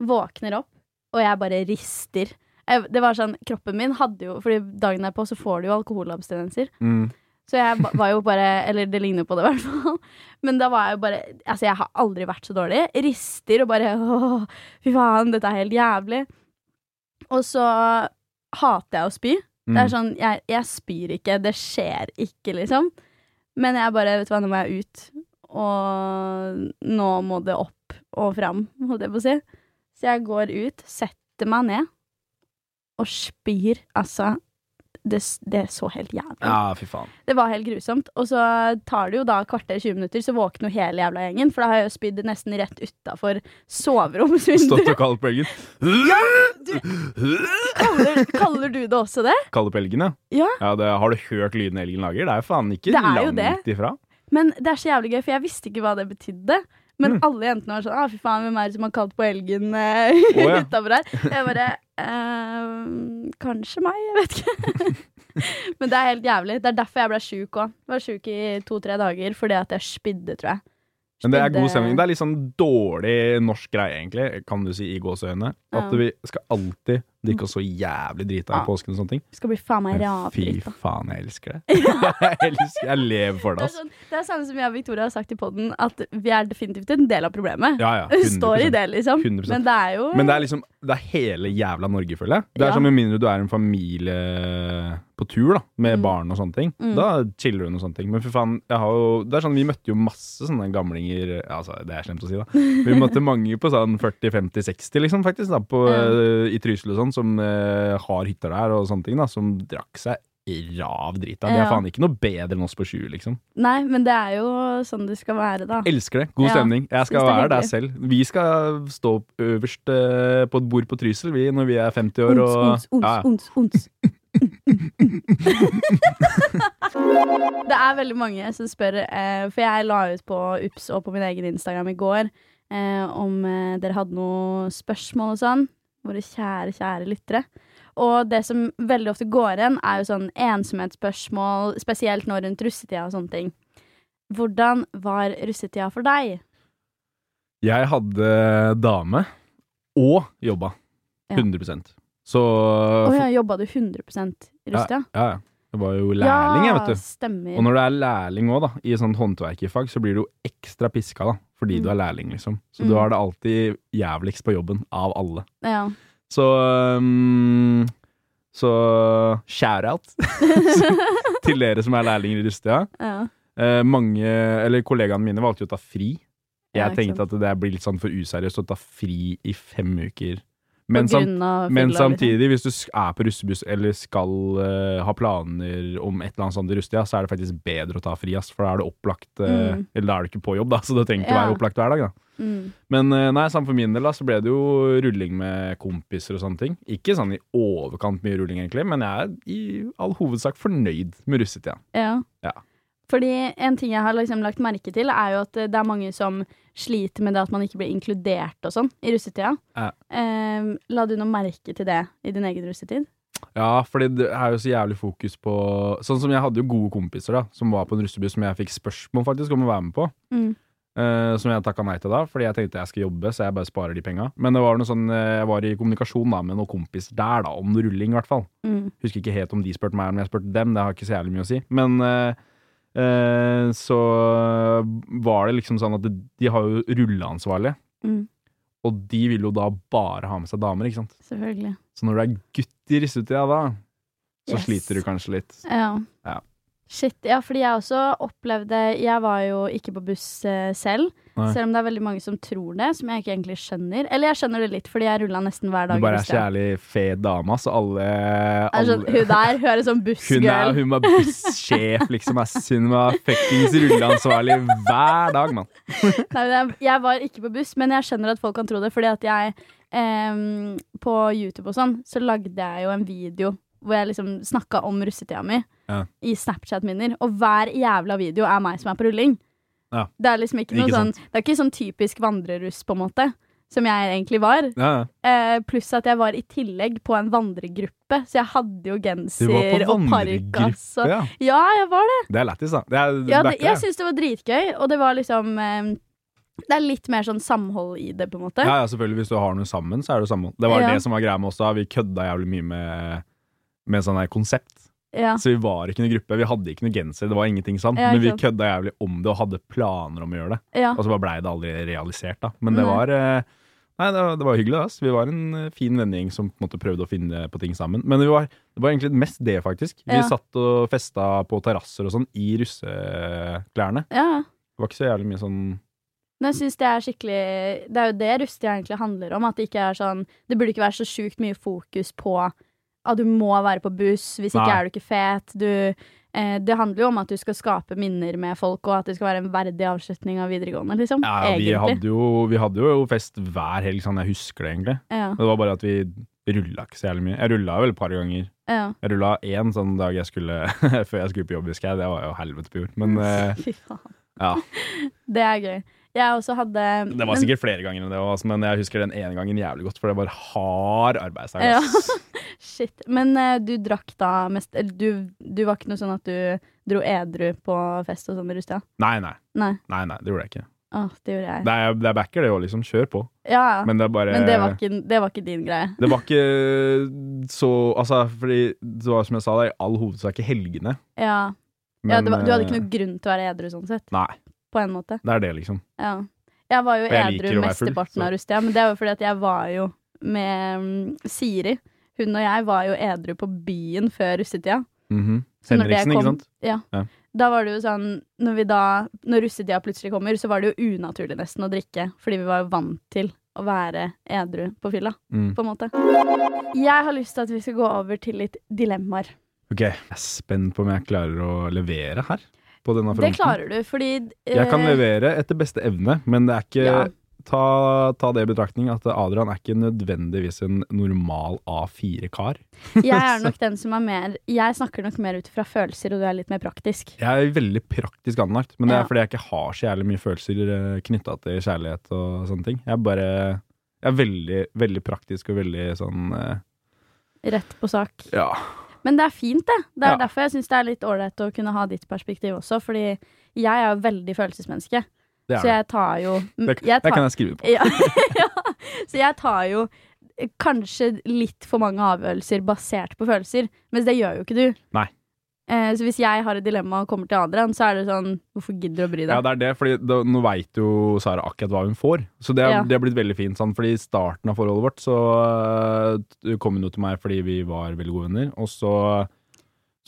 Våkner opp, og jeg bare rister. Jeg, det var sånn, kroppen min hadde jo Fordi dagen derpå så får du jo alkoholabstinenser. Mm. Så jeg ba- var jo bare Eller det ligner på det, i hvert fall. Men da var jeg jo bare Altså, jeg har aldri vært så dårlig. Rister og bare Åh, fy faen, dette er helt jævlig. Og så hater jeg å spy. Det mm. er sånn jeg, jeg spyr ikke. Det skjer ikke, liksom. Men jeg bare Vet du hva, nå må jeg ut. Og nå må det opp og fram, holdt jeg på å si. Så jeg går ut, setter meg ned og spyr. Altså, det, s- det er så helt jævlig ut. Ja, fy faen. Det var helt grusomt. Og så tar det jo da kvarter 20 minutter, så våkner jo hele jævla gjengen. For da har jeg jo spydd nesten rett utafor Stått soveromsvinduet. og kalt på elgen. Kaller, kaller du det også det? Kalle på elgen, ja. Ja. det, har du hørt lyden elgen lager? Det er jo faen ikke Det er jo langt ifra. Men det er så jævlig gøy, for jeg visste ikke hva det betydde. Men Mm. alle jentene var sånn ah, 'Fy faen, hvem er det som har kalt på elgen uh, ja. utafor her?' Jeg bare «Ehm, Kanskje meg, jeg vet ikke. Men det er helt jævlig. Det er derfor jeg ble sjuk òg. Var sjuk i to-tre dager fordi at jeg spydde, tror jeg. Men det er god Spydde- stemning. Det er litt sånn dårlig norsk greie, egentlig, kan du si, i gåseøynene. At Ja. vi skal alltid drikke oss så jævlig drita Ja. i påsken og sånne ting. Skal bli faen meg Men fy ravdrita. faen, jeg elsker det. Jeg elsker, jeg lever for det, Det er, altså. sånn, det er samme som jeg og Victoria har sagt i podden at vi er definitivt en del av problemet. Ja, ja, Vi står i 100%. det, liksom. 100%. Men det er jo Men det er liksom Det er hele jævla Norge, føler jeg. Det er Ja. som med mindre du er en familie på tur, da, med Mm. barn og sånne ting. Mm. Da chiller du og sånne ting. Men fy faen, jeg har jo Det er sånn, vi møtte jo masse sånne gamlinger ja, Altså, det er slemt å si, da. Vi møtte mange på sånn 40-50-60, liksom, faktisk, da, på, eh, i Trysil og sånn, som eh, har hytter der og sånne ting, da, som drakk seg rav drita. Det er Ja. faen ikke noe bedre enn oss på sju, liksom. Nei, men det er jo sånn det skal være, da. Elsker det. God Ja, stemning. Jeg skal synes det er være der hyggelig. selv. Vi skal stå øverst eh, på et bord på Trysil, vi, når vi er 50 år og Ons, ons, Ja, ja. ons, ons. det er veldig mange som spør, eh, for jeg la ut på UPS og på min egen Instagram i går, eh, om eh, dere hadde noen spørsmål og sånn. Våre kjære, kjære lyttere. Og det som veldig ofte går igjen, er jo sånn ensomhetsspørsmål, spesielt nå rundt russetida og sånne ting. Hvordan var russetida for deg? Jeg hadde dame og jobba. Ja. 100 Så Å ja, jobba du 100 i russetida? ja, ja. Jeg var jo lærling, jeg, vet du. stemmer. Og når du er lærling òg, da, i sånn håndverkerfag, så blir du jo ekstra piska, da. Fordi Mm. du er lærling, liksom. Så Mm. du har det alltid jævligst på jobben, av alle. Ja. Så um, Så shout-out til dere som er lærlinger i Rustia. ja. Eh, mange, eller kollegaene mine valgte jo å ta fri. Jeg Ja, ikke tenkte at det blir litt sånn for useriøst å ta fri i fem uker. Men, på sam grunn av men fylla, liksom. samtidig, hvis du sk- er på russebuss eller skal eh, ha planer om et eller annet sånt i russetida, så er det faktisk bedre å ta fri, ass, for da er du opplagt eh, Mm. Eller da er du ikke på jobb, da, så du trenger ikke Ja. være opplagt hver dag, da. Mm. Men eh, nei, samt for min del da, så ble det jo rulling med kompiser og sånne ting. Ikke sånn i overkant mye rulling, egentlig, men jeg er i all hovedsak fornøyd med russetida. Ja. Ja. Fordi en ting jeg har liksom lagt merke til, er jo at eh, det er mange som sliter med det at man ikke blir inkludert og sånn i russetida. Ja. Eh, la du noe merke til det i din egen russetid? Ja, fordi det er jo så jævlig fokus på Sånn som jeg hadde jo gode kompiser da som var på en russebuss som jeg fikk spørsmål faktisk om å være med på. Mm. eh, som jeg takka nei til da, fordi jeg tenkte jeg skal jobbe, så jeg bare sparer de penga. Men det var noe sånn, eh, jeg var i kommunikasjon da med noen kompiser der, da, om rulling i hvert fall. Mm. Husker ikke helt om de spurte meg eller om jeg spurte dem, det har ikke så jævlig mye å si. Men eh, eh, så var det liksom sånn at de, de har jo rulleansvarlige, Mm. og de vil jo da bare ha med seg damer, ikke sant. Selvfølgelig. Så når det er gutt i russetida da, så Yes. sliter du kanskje litt. Ja. Ja. Shit, ja, fordi jeg også opplevde Jeg var jo ikke på buss eh, selv, Nei. selv om det er veldig mange som tror det, som jeg ikke egentlig skjønner. Eller jeg skjønner det litt, fordi jeg rulla nesten hver Du dag. i bare er buss, så ja. jævlig fet dame, ass. Alle, Jeg er sånn, alle hun der, hun er en Hun sånn er, bussgirl. hun er bussjef, liksom. ass. Hun var fuckings rulleansvarlig hver dag, mann. Nei, men jeg, jeg var ikke på buss, men jeg skjønner at folk kan tro det, fordi at jeg em, På YouTube og sånn, så lagde jeg jo en video hvor jeg liksom snakka om russetida mi Ja. i Snapchat-minner, og hver jævla video er meg som er på rulling. Ja. Det er liksom ikke noe Ikke sånn Det er ikke sånn typisk vandreruss, på en måte, som jeg egentlig var. Ja, ja. Eh, pluss at jeg var i tillegg på en vandregruppe, så jeg hadde Du jo var genser på og parkas. vandregruppe, Og... ja. Ja, jeg var Det er lættis, da. Det er ja, det, backer, jeg syns det var dritgøy, og det var liksom eh, Det er litt mer sånn samhold i det, på en måte. Ja, ja, selvfølgelig. Hvis du har noe sammen, så er det samhold. Det var Ja. det som var greia med oss da. Vi kødda jævlig mye med, med sånn her konsept. Ja. Så vi var ikke noen gruppe. Vi hadde ikke noen genser. Det var ingenting sånn. Ja, Men vi ikke kødda jævlig om det og hadde planer om å gjøre det. ja. Og så bare blei det aldri realisert, da. Men det Nei. var eh, Nei, det var, det var hyggelig. da, ass. Vi var en eh, fin vennegjeng som på en måte prøvde å finne på ting sammen. Men vi var, det var egentlig mest det, faktisk. Vi Ja. satt og festa på terrasser og sånn i russeklærne. ja. Det var ikke så jævlig mye sånn Men jeg synes det er skikkelig Det er jo det rustia egentlig handler om. At det ikke er sånn Det burde ikke være så sjukt mye fokus på at du må være på buss, hvis ikke Nei. er du ikke fet. Du, eh, det handler jo om at du skal skape minner med folk, og at det skal være en verdig avslutning av videregående, liksom. Ja, ja, vi egentlig. hadde, jo, vi hadde jo fest hver helg, sånn jeg husker det egentlig. Ja, Men det var bare at vi rulla ikke så jævlig mye. Jeg rulla vel et par ganger. ja. Jeg rulla én sånn dag jeg skulle før jeg skulle på jobb, husker jeg. Det var jo helvete på jord. Mm. Men eh, Fy faen. ja. Det er gøy. Jeg også hadde Det var men- sikkert flere ganger enn det også, men jeg husker den ene gangen jævlig godt, for det var hard arbeidsdag. Ja. ass. Shit. Men eh, du drakk da mest eller du, du var ikke noe sånn at du dro edru på fest og sånn i Rustia? Nei, nei. Nei. Nei, nei, det gjorde jeg ikke. Å, det gjorde jeg. Det er, det er backer, det òg, liksom. Kjør på. Ja, ja. Men, Men eh, det er bare det, var ikke, det var ikke din greie. det var ikke så Altså, fordi det var som jeg sa, det er i all hovedsak i helgene. Ja. ja det var, du hadde ikke eh, noe grunn til å være edru sånn sett, Nei. på en måte. Det er det, liksom. Ja. Jeg var jo Og jeg liker edru å være full, mesteparten så- av Rustia, men det er jo fordi at jeg var jo med mm, Siri. Hun og jeg var jo edru på byen før russetida. Mhm. Så når det Henriksen, ikke Sånn kom- sant? Ja. Ja. Da var det jo sånn Når, vi da, når russetida plutselig kommer, så var det jo unaturlig nesten å drikke. Fordi vi var jo vant til å være edru på fylla, Mm. på en måte. Jeg har lyst til at vi skal gå over til litt dilemmaer. Ok, jeg er spent på om jeg klarer å levere her. På denne Det fronten. klarer du, fordi eh, Jeg kan levere etter beste evne, men det er ikke Ja. ta, ta det i betraktning at Adrian er ikke nødvendigvis en normal A4-kar. jeg er nok den som er mer Jeg snakker nok mer ut fra følelser, og du er litt mer praktisk. Jeg er veldig praktisk anlagt, men det er Ja. fordi jeg ikke har så jævlig mye følelser knytta til kjærlighet og sånne ting. Jeg er bare jeg er veldig, veldig praktisk og veldig sånn eh, Rett på sak. Ja. Men det er fint, det. Det er Ja. derfor jeg syns det er litt ålreit å kunne ha ditt perspektiv også, fordi jeg er jo veldig følelsesmenneske. Det er det. Så jeg tar jo Det, det jeg tar, kan jeg skrive på. Ja, ja. Så jeg tar jo eh, kanskje litt for mange avgjørelser basert på følelser, mens det gjør jo ikke du. Nei. Eh, så hvis jeg har et dilemma og kommer til Adrian, så er det sånn Hvorfor gidder du å bry deg? Ja, det er det, fordi da, nå veit jo Sara akkurat hva hun får. Så det, er- Ja. det har blitt veldig fint. Sånn, fordi I starten av forholdet vårt så øh, kom hun jo til meg fordi vi var veldig gode venner. Og så,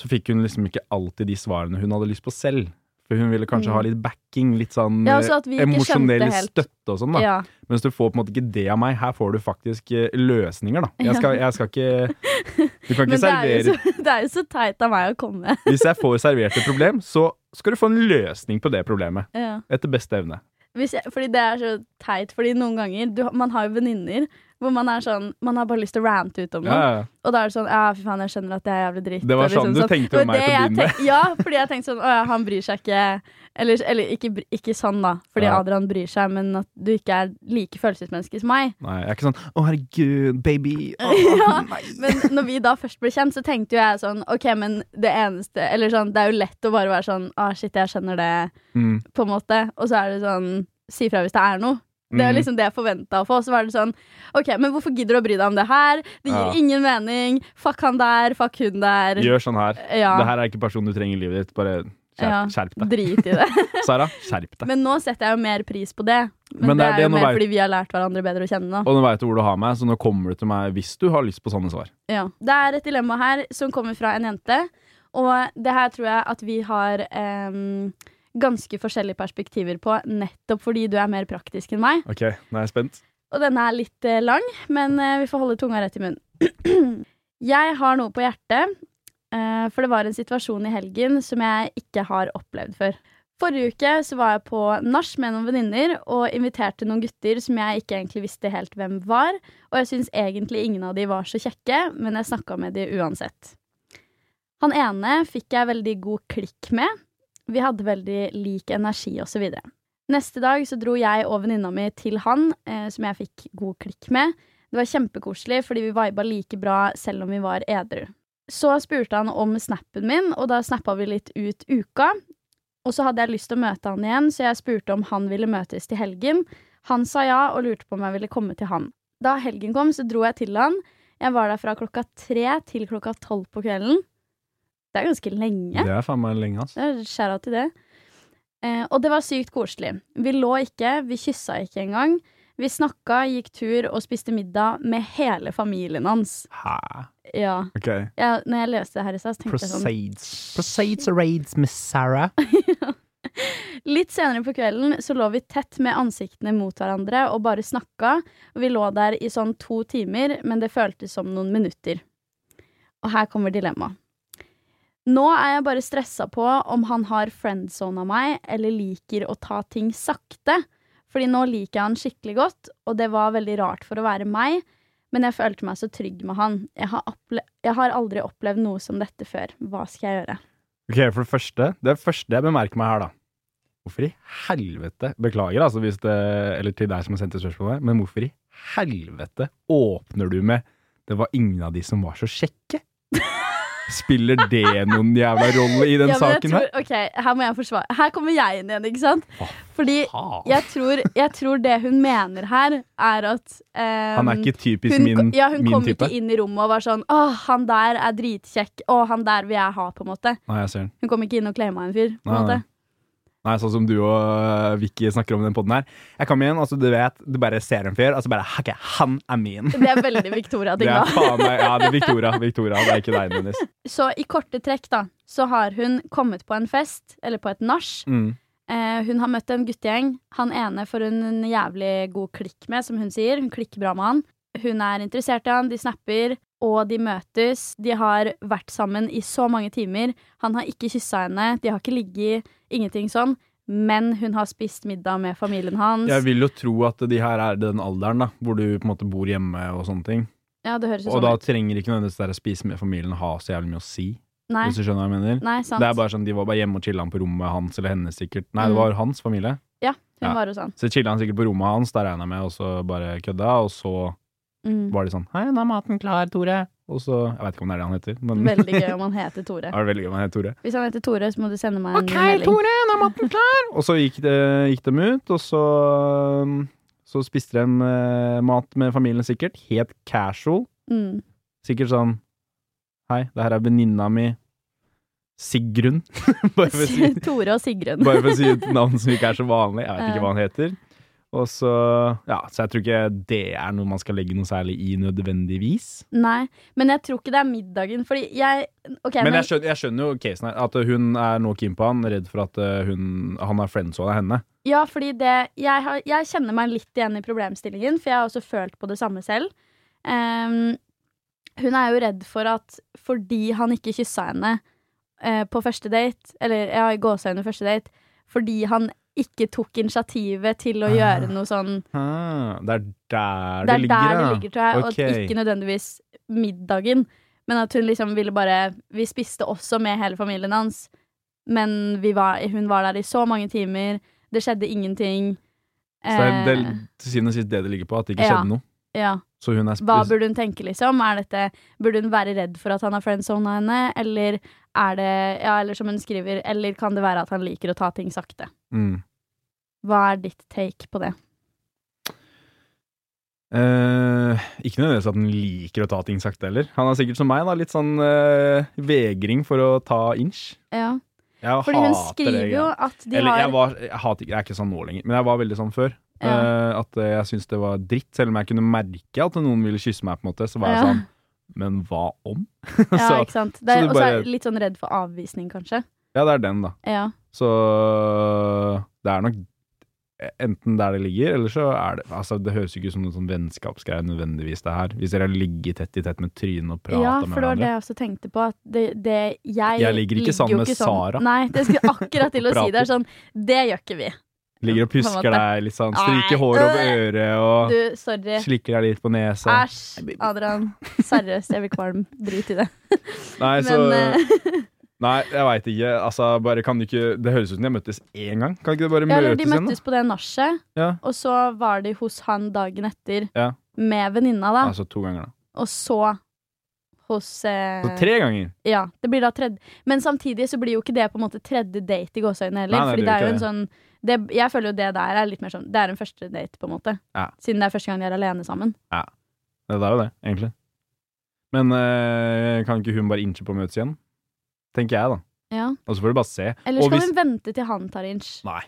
så fikk hun liksom ikke alltid de svarene hun hadde lyst på selv. For hun ville kanskje Mm. ha litt backing, litt sånn Ja, så at vi eh, ikke emosjonell skjønte helt. støtte og sånn. da Ja. Mens du får på en måte ikke det av meg. Her får du faktisk eh, løsninger, da. Jeg skal, jeg skal ikke Du kan Men ikke det er, servere liksom jo så, det er jo så teit av meg å komme. Hvis jeg får servert et problem, så skal du få en løsning på det problemet. Ja. Etter beste evne. Hvis jeg, fordi det er så teit, fordi noen ganger du, Man har jo venninner hvor man er sånn Man har bare lyst til å rante ut om noe. Ja, ja, ja. Og da er det sånn Ja, fy faen, jeg skjønner at det er jævlig dritt. Det var og liksom sånn du tenkte Det om var meg til å det jeg begynne med. tenk- Ja, fordi jeg tenkte sånn Å ja, han bryr seg ikke. Eller, eller ikke, bry- ikke sånn, da, fordi Ja. Adrian bryr seg, men at du ikke er like følelsesmenneske som meg. Nei, jeg er ikke sånn 'Å, herregud, baby'. Å, Ja, nei. Men når vi da først ble kjent, så tenkte jo jeg sånn OK, men det eneste Eller sånn, det er jo lett å bare være sånn Å, shit, jeg skjønner det, Mm. på en måte. Og så er det sånn Si fra hvis det er noe. Det er Mm. liksom det jeg forventa å få. Så var det sånn OK, men hvorfor gidder du å bry deg om det her? Det Ja. gir ingen mening. Fuck han der, fuck hun der. Gjør sånn her. Ja. Det her er ikke personen du trenger i livet ditt. Bare skjerp, Ja. skjerp deg. Drit i det. Sara, skjerp deg. Men nå setter jeg jo mer pris på det. Men Men, det, det er er jo det nå mer vei- fordi vi har lært hverandre bedre å kjenne nå. Og nå veit du hvor du har meg, så nå kommer du til meg hvis du har lyst på sånne svar. Ja. Det er et dilemma her som kommer fra en jente. Og det her tror jeg at vi har em, ganske forskjellige perspektiver på, nettopp fordi du er mer praktisk enn meg. Ok, nå er jeg spent. Og denne er litt eh, lang, men eh, vi får holde tunga rett i munnen. jeg har noe på hjertet, eh, for det var en situasjon i helgen som jeg ikke har opplevd før. Forrige uke så var jeg på nach med noen venninner og inviterte noen gutter som jeg ikke egentlig visste helt hvem var, og jeg syns egentlig ingen av de var så kjekke, men jeg snakka med de uansett. Han ene fikk jeg veldig god klikk med. Vi hadde veldig lik energi og så videre. Neste dag så dro jeg og venninna mi til han, eh, som jeg fikk god klikk med. Det var kjempekoselig, fordi vi viba like bra selv om vi var edru. Så spurte han om snappen min, og da snappa vi litt ut uka. Og så hadde jeg lyst til å møte han igjen, så jeg spurte om han ville møtes til helgen. Han sa ja, og lurte på om jeg ville komme til han. Da helgen kom, så dro jeg til han. Jeg var der fra klokka tre til klokka tolv på kvelden. Det er ganske lenge. Det er faen meg lenge, altså. ass. Skjæra til det. Eh, og det var sykt koselig. Vi lå ikke, vi kyssa ikke engang. Vi snakka, gikk tur og spiste middag med hele familien hans. Hæ? Ja, Ok. jeg, Når jeg leste det her i stad, så tenkte jeg sånn Proceeds. Proceeds or raids, Miss Sarah. Litt senere på kvelden så lå vi tett med ansiktene mot hverandre og bare snakka. Og vi lå der i sånn to timer, men det føltes som noen minutter. Og her kommer dilemmaet. Nå er jeg bare stressa på om han har friendzona meg, eller liker å ta ting sakte. Fordi nå liker jeg han skikkelig godt, og det var veldig rart for å være meg, men jeg følte meg så trygg med han. Jeg har, opple jeg har aldri opplevd noe som dette før. Hva skal jeg gjøre? Ok, for det første, det første jeg bemerker meg her da. Hvorfor i helvete, beklager altså hvis det, eller til deg som har sendt det spørsmålet, men hvorfor i helvete åpner du med, det var ingen av de som var så kjekke? Spiller det noen jævla rolle i den Ja, men jeg saken her? tror- Ok, her må jeg forsvare. Her kommer jeg inn igjen, ikke sant? Hva Fordi Faen. jeg tror, jeg tror det hun mener her, er at eh, Han er ikke typisk hun, min, ja, hun min kom type. ikke inn i rommet og var sånn Å, han der er dritkjekk. Å, han der vil jeg ha, på en måte. Nei, jeg ser den. Hun kom ikke inn og klema en fyr, på en Nei, nei. måte. Nei, sånn som du og øh, Vicky snakker om i den podden her. Jeg kom igjen, altså du vet, du bare ser en fyr, altså bare, ok, han er min. Det er veldig Victoria-ting, Det da. er faen meg, ja, det er Victoria, Victoria, det er ikke deg, Dennis. Så i korte trekk, da, så har hun kommet på en fest, eller på et nach. Mm. Eh, hun har møtt en guttegjeng. Han ene får hun en jævlig god klikk med, som hun sier. Hun klikker bra med han. Hun er interessert i han, de snapper, og de møtes. De har vært sammen i så mange timer. Han har ikke kyssa henne, de har ikke ligget, ingenting sånn. Men hun har spist middag med familien hans. Jeg vil jo tro at de her er den alderen da, hvor du på en måte bor hjemme og sånne ting. Ja, det høres jo Og sånn da ut. trenger ikke nødvendigvis det der å spise med familien ha så jævlig mye å si, Nei, hvis du skjønner hva jeg mener. nei, sant. Det er bare sånn, de var bare hjemme og chilla på rommet hans eller hennes sikkert. Nei, Mm. det var hans familie. Hun ja. var jo sånn. Så chilla han sikkert på rommet hans, der regna jeg med, og så bare kødda, og så Mm. var de sånn Hei, nå er maten klar, Tore. Og så Jeg veit ikke om det er det han heter, men Veldig gøy om han heter Ja, Tore. det er veldig gøy om han heter Tore. Hvis han heter Tore, så må du sende meg en Ok, melding. Tore, nå er maten klar! og så gikk, det, gikk de ut, og så um, Så spiste de eh, mat med familien sikkert. Helt casual. Mm. Sikkert sånn Hei, det her er venninna mi Sigrun. bare, for å si, Tore og Sigrun. bare for å si et navn som ikke er så vanlig. Jeg vet Ja. ikke hva han heter. Og så Ja, så jeg tror ikke det er noe man skal legge noe særlig i nødvendigvis. Nei, men jeg tror ikke det er middagen, fordi jeg Ok, Men nei, jeg skjønner, jeg skjønner jo casen her. At hun er nå keen på han, redd for at eh, hun, han er friendzona henne. ja, fordi det jeg, har, jeg kjenner meg litt igjen i problemstillingen, for jeg har også følt på det samme selv. Ehm, hun er jo redd for at fordi han ikke kyssa henne eh, på første date, eller ja, i gåseøynene første date, fordi han ikke tok initiativet til å Ah. gjøre noe sånn Ah, det er der Det det, er ligger, der det ja. ligger, tror jeg. Og Ok. at ikke nødvendigvis middagen. Men at hun liksom ville bare Vi spiste også med hele familien hans, men vi var, hun var der i så mange timer. Det skjedde ingenting. Så det er Eh, det, til syvende og sist det det ligger på, at det ikke Ja. skjedde noe. ja. Så hun er sp- Hva burde hun tenke, liksom? Er dette, burde hun være redd for at han har friendzona henne? Eller er det Ja, eller som hun skriver, eller kan det være at han liker å ta ting sakte? mm. Hva er ditt take på det? eh, Ikke nødvendigvis at hun liker å ta ting sakte heller. Han er sikkert som meg, da. Litt sånn eh, vegring for å ta inch. Ja. Jeg Fordi hun hater skriver det, jo ja. at de Eller har jeg var Jeg hater ikke Jeg er ikke sånn nå lenger, men jeg var veldig sånn før. ja. Eh, at eh, jeg syntes det var dritt, selv om jeg kunne merke at noen ville kysse meg, på en måte. Så var jeg Ja. sånn men hva om? Ja, så ikke sant. Det er, så du og så er bare- jeg litt sånn redd for avvisning, kanskje. ja, det er den, da. Ja. Så det er nok enten der det ligger, eller så er det Altså, det høres jo ikke ut som noen sånn vennskapsgreie nødvendigvis, det her. Hvis dere har ligget tett i tett med trynet og prata ja, med for det var det hverandre. jeg også tenkte på. At det, det, jeg, Jeg ligger ikke jo sammen med Sara. Nei, det skulle jeg akkurat til å Og si. Det prater. er sånn, det gjør ikke vi. Ligger og på en pusker måte. deg litt sånn, stryker Nei. håret over øret og Du, sorry. slikker deg litt på nesa. Nei, Æsj, baby. Adrian. Seriøst, jeg blir kvalm. Drit i det. Nei, så Men eh, Nei, jeg veit ikke. Altså, bare kan du ikke Det høres ut som de har møttes én gang. Kan ikke dere bare ja, eller møtes de igjen, da? møttes på det nachet, Ja. og så var de hos han dagen etter Ja. med venninna, da. Altså to ganger, da. Og så hos eh, Så tre ganger! Ja, det blir da tredje Men samtidig så blir jo ikke det på en måte tredje date i gåseøynene heller. Nei, nei, fordi det det gjør er jo ikke en sånn det, Jeg føler jo det der er litt mer sånn Det er en første date, på en måte. Ja. Siden det er første gang de er alene sammen. Det er jo det, egentlig. Men eh, kan ikke hun bare innse på å møtes igjen? Tenker jeg, da. Ja. Og så får du bare se. Eller Og skal hvis- hun vente til han tar inch? Nei.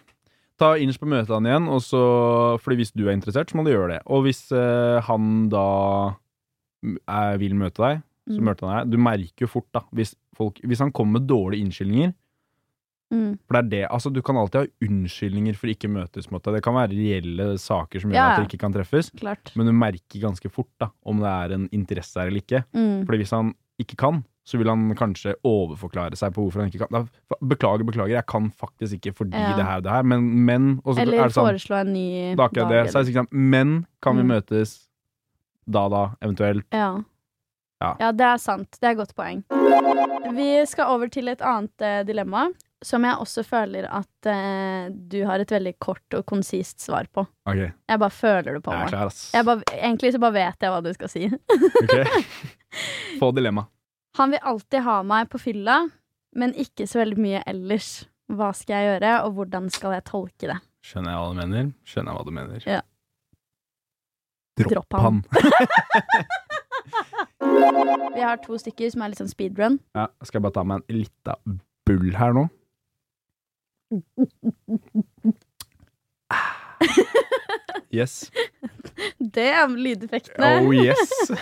Ta Inch på møtene igjen, og så, fordi hvis du er interessert, så må du gjøre det. Og hvis eh, han da mm, er, vil møte deg, så Mm. møter han deg. Du merker jo fort, da, hvis, folk, hvis han kommer med dårlige unnskyldninger. Mm. For det er det, altså Du kan alltid ha unnskyldninger for ikke møtes. på en måte. Det kan være reelle saker som gjør Ja, ja. at dere ikke kan treffes, Klart. men du merker ganske fort da, om det er en interesse her eller ikke. Mm. Fordi hvis han ikke kan, så vil han kanskje overforklare seg på hvorfor han ikke kan. Da, fa- Beklager, beklager, jeg kan faktisk ikke fordi Ja. det her og det her, men, men og så Eller er det sånn, foreslå en ny det er akkurat det. Så er det ikke sant, men kan vi Mm. møtes da, da, eventuelt? ja. Ja. ja, det er sant. Det er et godt poeng. Vi skal over til et annet eh, dilemma, som jeg også føler at eh, du har et veldig kort og konsist svar på. Ok, jeg Jeg bare føler det på er meg. klar, ass. Jeg bare, egentlig så bare vet jeg hva du skal si. Ok. Få dilemma. Han vil alltid ha meg på fylla, men ikke så veldig mye ellers. Hva skal jeg gjøre, og hvordan skal jeg tolke det? Skjønner jeg hva du mener? Skjønner jeg hva du mener. Ja. Dropp, Dropp han. han. Vi har to stykker som er litt sånn speedrun. Ja, skal jeg bare ta meg en lita bull her nå? Ah. Yes. Det er lydeffektene. Oh yes.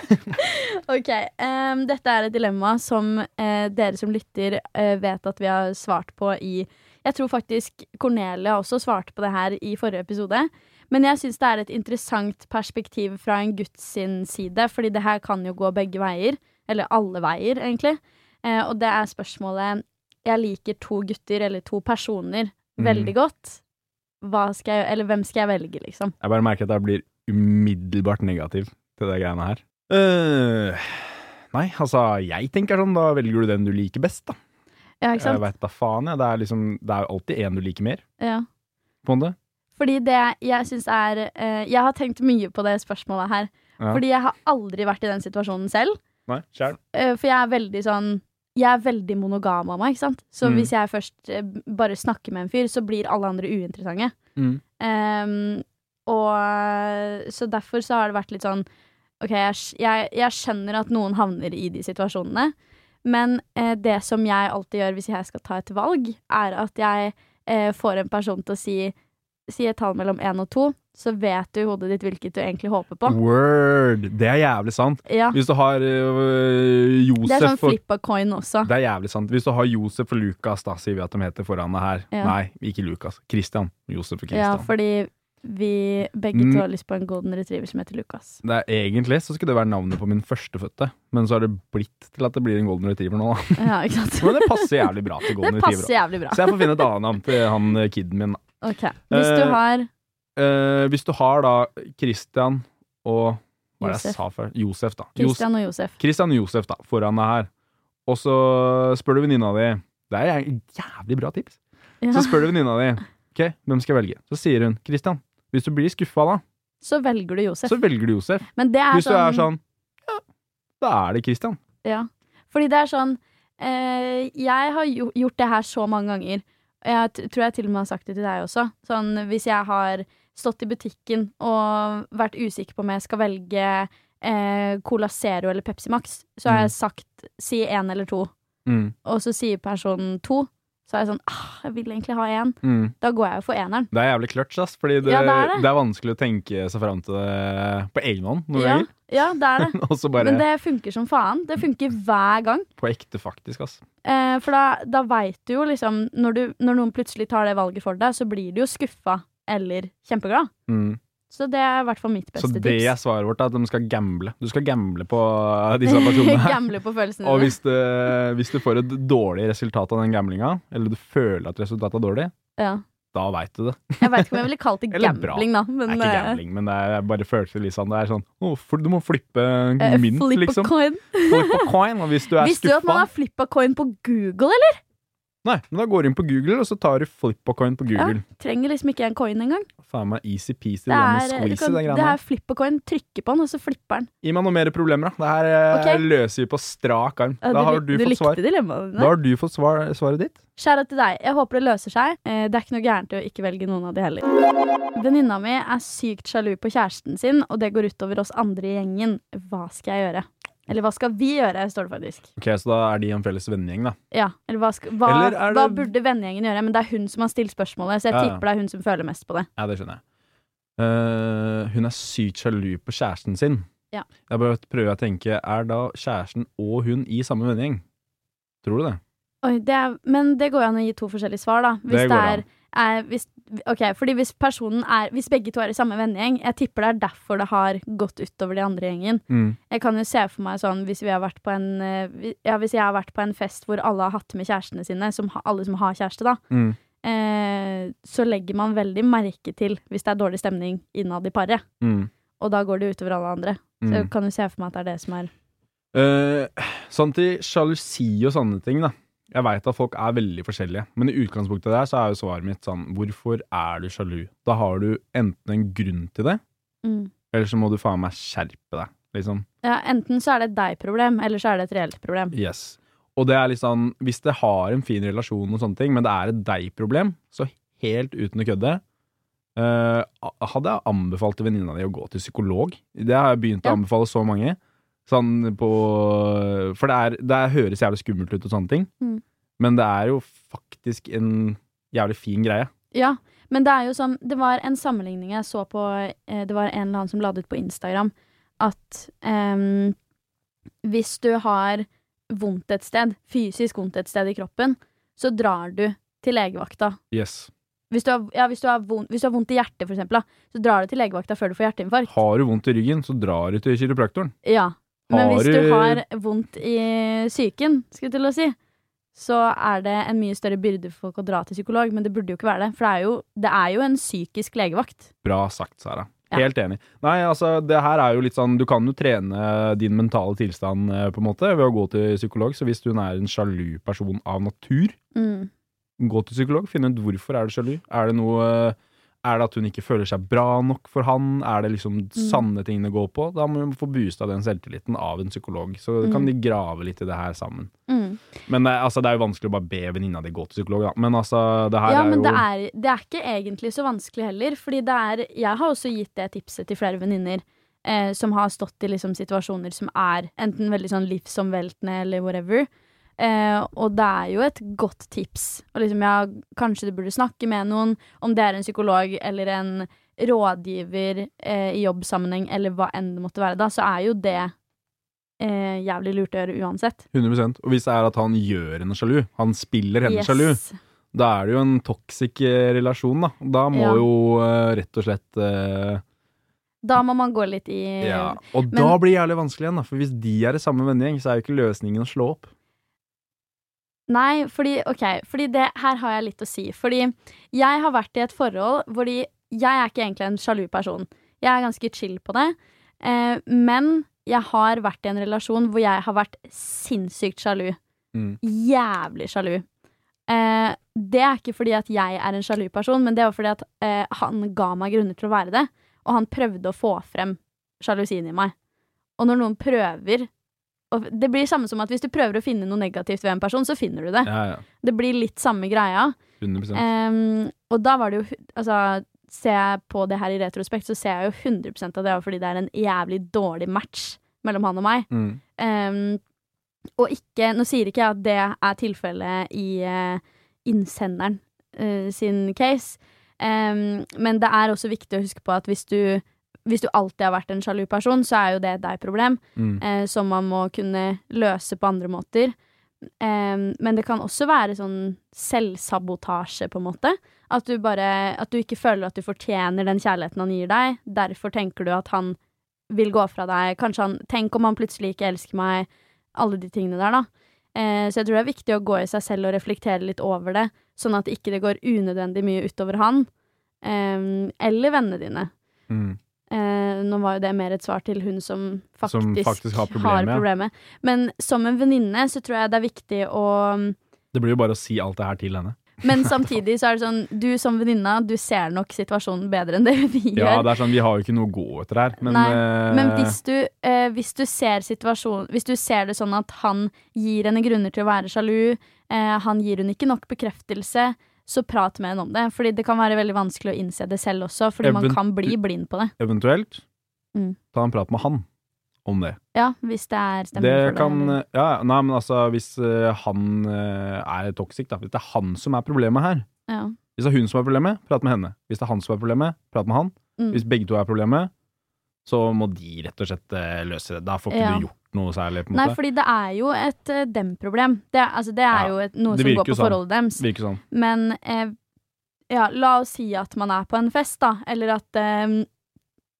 Ok, em, Dette er et dilemma som eh, dere som lytter eh, vet at vi har svart på i Jeg tror faktisk Cornelia også svarte på det her i forrige episode. Men jeg syns det er et interessant perspektiv fra en guds sin side, fordi det her kan jo gå begge veier. Eller alle veier, egentlig. Eh, og det er spørsmålet Jeg liker to gutter, eller to personer, Mhm. veldig godt. Hva skal jeg, eller hvem skal jeg velge, liksom? Jeg bare merker at jeg blir umiddelbart negativ til de greiene her. Eh, nei, altså, jeg tenker sånn, da velger du den du liker best, da. Ja, ikke Jeg sant? veit da faen, jeg. Det er liksom, det er jo alltid en du liker mer, Ja. på en måte. Fordi det jeg syns er eh, Jeg har tenkt mye på det spørsmålet her. Ja. Fordi jeg har aldri vært i den situasjonen selv. Nei, sjæl. Eh, for jeg er veldig sånn Jeg er veldig monogam av meg, ikke sant. Så Mm. hvis jeg først eh, bare snakker med en fyr, så blir alle andre uinteressante. Mm. Ehm, og eh, Så derfor så har det vært litt sånn OK, jeg, sk- jeg, jeg skjønner at noen havner i de situasjonene, men eh, det som jeg alltid gjør hvis jeg skal ta et valg, er at jeg eh, får en person til å si Si et tall mellom én og to, så vet du i hodet ditt hvilket du egentlig håper på. Mm. Word! Det er jævlig sant. Ja, Hvis du har øh, Det er sånn Josef og flip of coin også. Det er jævlig sant. Hvis du har Josef og Lukas, da sier vi at de heter foran deg her. Ja. Nei, ikke Lukas. Christian. Josef og Ja, Christian. fordi vi begge Mm. to har lyst på en golden retriever som heter Lukas. Det er, egentlig så skulle det være navnet på min førstefødte, men så har det blitt til at det blir en golden retriever nå, da. Ja, ikke sant? Men det passer jævlig bra til Det golden passer retriever. da. jævlig bra. Så jeg får finne et annet navn til han eh, kiden min. da. Ok, Hvis du Eh, har Eh, hvis du har da Christian og Hva er det jeg Josef. sa før? Josef, da. Jos- Christian og Josef Christian og Josef, da, foran deg her. Og så spør du venninna di. Det er jævlig bra tips. ja. Så spør du venninna di Ok, hvem skal jeg velge. Så sier hun Christian. Hvis du blir skuffa da, så velger du Josef. så velger du Josef. Men det er Hvis du sånn, er sånn Ja, da er det Christian. ja. Fordi det er sånn eh, Jeg har jo, gjort det her så mange ganger. Og Jeg t tror jeg til og med har sagt det til deg også. Sånn, hvis jeg har stått i butikken og vært usikker på om jeg skal velge eh, Cola Zero eller Pepsi Max, så har Mm. jeg sagt si én eller to. Mm. Og så sier personen to. så er jeg sånn ah, Jeg vil egentlig ha én. Mm. Da går jeg jo for eneren. Det er jævlig clutch, ass. Fordi det, Ja, det, det er er det. vanskelig å tenke seg fram til det på egen hånd noen Ja, ganger. ja, det er det. Og så bare Men det funker som faen. Det funker hver gang. på ekte, faktisk, ass. Eh, for da, da veit du jo liksom når, du, når noen plutselig tar det valget for deg, så blir du jo skuffa eller kjempeglad. Mm. Så det er i hvert fall mitt Så beste det er tips. svaret vårt, at de skal gamble. Du skal gamble på disse personene her. Gamble på følelsene Og dine. hvis, det, hvis du får et dårlig resultat av den gamblinga, eller du føler at resultatet er dårlig, Ja. da veit du det. Jeg veit ikke om jeg ville kalt det Eller bra. gambling, da. Det Men, eh, er ikke gambling, men det er bare følelser. Liksom. Det er sånn å, for, Du må flippe eh, eh, mynt, flip a liksom. coin. Flippe coin. Og hvis du er Visste du at skuffa man har flippa coin på Google, eller? Nei, men da går du inn på Google, og så tar du flippa coin på Google. Trenger liksom ikke en coin engang. Faen meg easy-peasy, det Det med er, du squeezy, kan, de greiene det der. er flippa coin. Trykker på den, og så flipper den. Gi meg noen mer problemer, da. Det her eh, Ok. løser vi på strak arm. Ja, Da har lik- du, fått likte svar. dilemmaene Da dine. har du fått svar, svaret ditt. Kjære til deg. Jeg håper det løser seg. Eh, Det er ikke noe gærent i å ikke velge noen av de heller. Venninna mi er sykt sjalu på kjæresten sin, og det går utover oss andre i gjengen. Hva skal jeg gjøre? Eller hva skal vi gjøre, står det faktisk. Ok, Så da er de en felles vennegjeng, da. Ja, eller hva, skal, hva, Eller er det- hva burde vennegjengen gjøre? Men det er hun som har stilt spørsmålet, så jeg Ja, ja. tipper det er hun som føler mest på det. Ja, det skjønner jeg. Eh, hun er sykt sjalu på kjæresten sin. Ja. Jeg bare prøver å tenke, er da kjæresten og hun i samme vennegjeng? Tror du det? Oi, det er, men det går jo an å gi to forskjellige svar, da. Hvis Det det, går er, er hvis, Ok, fordi hvis personen er Hvis begge to er i samme vennegjeng, jeg tipper det er derfor det har gått utover de andre i gjengen. Mm. Jeg kan jo se for meg sånn hvis vi har vært på en eh, vi- Ja, hvis jeg har vært på en fest hvor alle har hatt med kjærestene sine, som, ha- alle som har kjæreste, da, Mm. eh, så legger man veldig merke til hvis det er dårlig stemning innad i paret. Mm. Og da går det utover alle andre. Så jeg kan jo se for meg at det er det som er Eh, sånn til sjalusi og sånne ting, da. Jeg veit at folk er veldig forskjellige, men i utgangspunktet der så er jo svaret mitt sånn Hvorfor er du sjalu? Da har du enten en grunn til det, eller så må du faen meg skjerpe deg, liksom. mm. ja, Enten så er det et deg-problem, eller så er det et reelt problem. Yes. Og det er litt sånn, hvis det har en fin relasjon og sånne ting, men det er et deg-problem, så helt uten å kødde, eh, hadde jeg anbefalt til venninna di å gå til psykolog. Det har jeg begynt Ja. å anbefale så mange. Sånn på, for det, er, det er, høres jævlig skummelt ut og sånne ting, Mm. men det er jo faktisk en jævlig fin greie. Ja, men det er jo sånn Det var en sammenligning jeg så på eh, Det var en eller annen som la det ut på Instagram at ehm, hvis du har vondt et sted, fysisk vondt et sted i kroppen, så drar du til legevakta. Yes. Hvis du har, ja, hvis du har, vondt, hvis du har vondt i hjertet, for eksempel, da, så drar du til legevakta før du får hjerteinfarkt. Har du vondt i ryggen, så drar du til kiropraktoren. Ja. Men Har hvis du- du har vondt i psyken, skulle jeg til å si, så er det en mye større byrde for folk å dra til psykolog, men det burde jo ikke være det. For det er jo, det er jo en psykisk legevakt. Bra sagt, Sara. Ja. Helt enig. Nei, altså, det her er jo litt sånn Du kan jo trene din mentale tilstand eh, på en måte ved å gå til psykolog. Så hvis hun er en sjalu person av natur, Mm. gå til psykolog. Finn ut hvorfor er du sjalu. Er det noe eh, Er det at hun ikke føler seg bra nok for han? Er det liksom Mm. sanne ting det går på? Da må hun få boosta den selvtilliten av en psykolog. Så kan Mm. de grave litt i det her sammen. Men eh, altså, det er jo vanskelig å bare be venninna di gå til psykolog, da. Men altså, det her Ja, er jo men det er, det er ikke egentlig så vanskelig heller, fordi det er Jeg har også gitt det tipset til flere venninner. Eh, som har stått i liksom situasjoner som er enten veldig sånn livsomveltende eller whatever. Eh, og det er jo et godt tips. Og liksom, ja, kanskje du burde snakke med noen, om det er en psykolog eller en rådgiver eh, i jobbsammenheng, eller hva enn det måtte være, da, så er jo det eh, jævlig lurt å gjøre uansett. 100 Og hvis det er at han gjør henne sjalu, han spiller henne sjalu, da er det jo en toxic eh, relasjon, da. Da må Ja. jo eh, rett og slett eh, Da må man gå litt i Ja. Og men- da blir det jævlig vanskelig igjen, da. For hvis de er i samme vennegjeng, så er jo ikke løsningen å slå opp. Nei, fordi, ok, fordi det her har jeg litt å si. Fordi jeg har vært i et forhold hvor de, jeg er ikke egentlig en sjalu person. Jeg er ganske chill på det. Eh, men jeg har vært i en relasjon hvor jeg har vært sinnssykt sjalu. Mm. Jævlig sjalu. Eh, det er ikke fordi at jeg er en sjalu person, men det var fordi at eh, han ga meg grunner til å være det. Og han prøvde å få frem sjalusien i meg. Og når noen prøver og Det blir samme som at hvis du prøver å finne noe negativt ved en person, så finner du det. Ja, ja. Det blir litt samme greia. 100 Ehm, og da var det jo hu- Altså, ser jeg på det her i retrospekt, så ser jeg jo 100 at det var fordi det er en jævlig dårlig match mellom han og meg. mm. Ehm, og ikke Nå sier ikke jeg at det er tilfellet i, eh, innsenderen eh, sin case. Em, men det er også viktig å huske på at hvis du, hvis du alltid har vært en sjalu person, så er jo det et deg-problem Mm. eh, som man må kunne løse på andre måter. Em, men det kan også være sånn selvsabotasje, på en måte. At du bare At du ikke føler at du fortjener den kjærligheten han gir deg. Derfor tenker du at han vil gå fra deg. Kanskje han Tenk om han plutselig ikke elsker meg. Alle de tingene der, da. Eh, så jeg tror det er viktig å gå i seg selv og reflektere litt over det, sånn at ikke det går unødvendig mye utover han. em, eller vennene dine. Mm. Eh, nå var jo det mer et svar til hun som faktisk, Som faktisk har har, problemet, problemet, ja. Men som en venninne så tror jeg det er viktig å Det blir jo bare å si alt det her til henne. Men samtidig så er det sånn, du som venninna, du ser nok situasjonen bedre enn det vi Ja, gjør. det er sånn, Vi har jo ikke noe å gå etter her, men, Nei, eh, Men hvis du, eh, hvis du ser situasjonen Hvis du ser det sånn at han gir henne grunner til å være sjalu, eh, han gir henne ikke nok bekreftelse, så prat med henne om det. Fordi det kan være veldig vanskelig å innse det selv også, fordi man Even- kan bli blind på det. eventuelt, Mm. ta en prat med han om det. Ja, hvis det er stemning det for kan, eh, det. eller- ja, ja, nei, men altså, hvis eh, han eh, er toxic, da, hvis det er han som er problemet her Ja. Hvis det er hun som er problemet, prat med henne. Hvis det er han som er problemet, prat med han. Mm. Hvis begge to er problemet, så må de rett og slett eh, løse det. Da får ikke Ja. du gjort noe særlig, på en Nei, måte. fordi det er jo et eh, dem-problem. Det, er- altså, det er Ja, jo et, noe det som virker går på sånn. forholdet deres. Virker sånn. Men eh, ja, la oss si at man er på en fest, da. Eller at eh,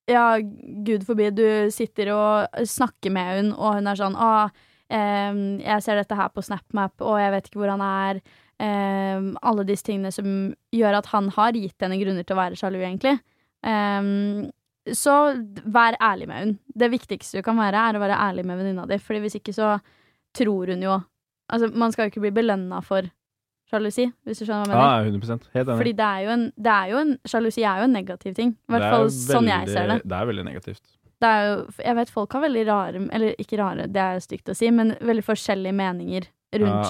ja, gud forbi, du sitter og snakker med hun, og hun er sånn Å, eh, jeg ser dette her på SnapMap, og jeg vet ikke hvor han er. Eh, alle disse tingene som gjør at han har gitt henne grunner til å være sjalu, egentlig. Eh, så vær ærlig med hun. Det viktigste du kan være, er å være ærlig med venninna di, Fordi hvis ikke så tror hun jo Altså, man skal jo ikke bli belønna for sjalusi, hvis du skjønner hva jeg Ja, mener. 100 Helt enig. Fordi det er jo en, det er jo en Sjalusi er jo en negativ ting. I hvert Det er fall sånn jeg veldig- ser det. Det er veldig negativt. det er jo, jeg vet folk har veldig rare Eller ikke rare, det er stygt å si, men veldig forskjellige meninger rundt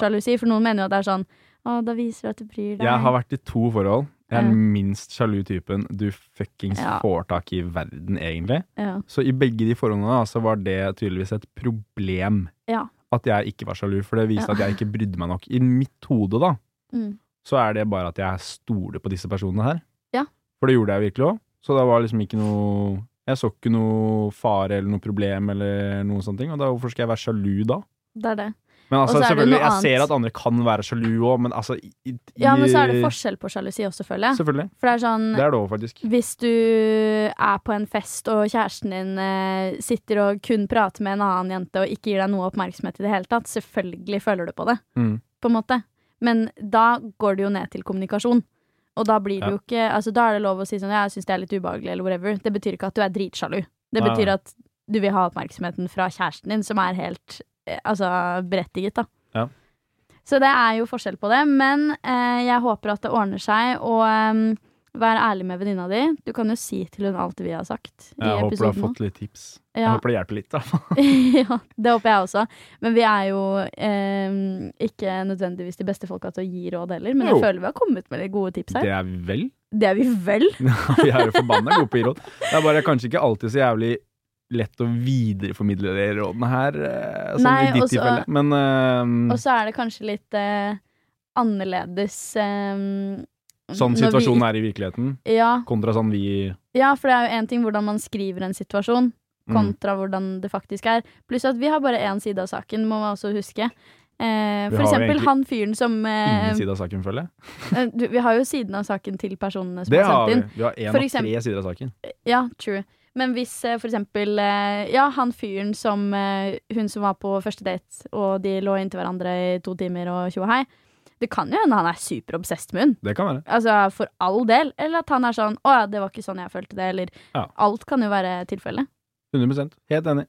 Ja. sjalusi. For noen mener jo at det er sånn Å, da viser du at du bryr deg. Jeg har vært i to forhold. Jeg er Ja. den minst sjalu typen du fuckings Ja. får tak i i verden, egentlig. ja. Så i begge de forholdene da, så var det tydeligvis et problem Ja. at jeg ikke var sjalu, for det viste Ja. at jeg ikke brydde meg nok. I mitt hode, da, Mm. så er det bare at jeg stoler på disse personene her. Ja. For det gjorde jeg virkelig òg. Så det var liksom ikke noe Jeg så ikke noe fare eller noe problem eller noen sånne ting. Og da, hvorfor skal jeg være sjalu da? Det er det. Men altså, Og så er det selvfølgelig, noe jeg ser annet. at andre kan være sjalu òg, men altså i, i, Ja, men så er det forskjell på sjalusi også, føler jeg. Selvfølgelig. For det er sånn Det er det òg, faktisk. Hvis du er på en fest og kjæresten din eh, sitter og kun prater med en annen jente og ikke gir deg noe oppmerksomhet i det hele tatt, selvfølgelig føler du på det. Mm. På en måte. Men da går det jo ned til kommunikasjon. Og da blir Ja. det jo ikke altså, Da er det lov å si sånn Ja, jeg syns det er litt ubehagelig, eller whatever. Det betyr ikke at du er dritsjalu. Det Nei, betyr nei. at du vil ha oppmerksomheten fra kjæresten din, som er helt eh, altså, berettiget, da. Ja. Så det er jo forskjell på det, men eh, jeg håper at det ordner seg. Og eh, vær ærlig med venninna di. Du kan jo si til hun alt vi har sagt i Jeg håper du har episoden. nå. fått litt tips. Jeg Ja. håper det hjelper litt, da. ja, det håper jeg også. Men vi er jo eh, ikke nødvendigvis de beste folka til å gi råd heller. Men Jo. jeg føler vi har kommet med litt gode tips her. Det er vi vel Det, er vi vel. Vi er jo forbanna gode på å gi råd. Det er bare kanskje ikke alltid så jævlig lett å videreformidle de rådene her, eh, sånn Nei, i ditt og så- tilfelle. Men eh, Og så er det kanskje litt eh, annerledes eh, sånn når vi situasjonen ikke- er i virkeligheten, ja, kontra sånn vi ja, for det er jo én ting hvordan man skriver en situasjon, mm, kontra hvordan det faktisk er. Pluss at vi har bare én side av saken, må man også huske. Eh, Vi for har jo eksempel egentlig han fyren som eh, Ingen side av saken, føler jeg. eh, du, Vi har jo siden av saken til personene som Det er har sendt vi. inn. Vi har én For av eksempel- tre sider av saken. Ja, true. Men hvis eh, for eksempel eh, Ja, han fyren som eh, Hun som var på første date, og de lå inntil hverandre i to timer og tjo og hei. Det kan jo hende han er superobsesst med hun. Det kan være. Altså, for all del. Eller at han er sånn 'Å ja, det var ikke sånn jeg følte det', eller Ja. Alt kan jo være tilfellet. 100 Helt enig.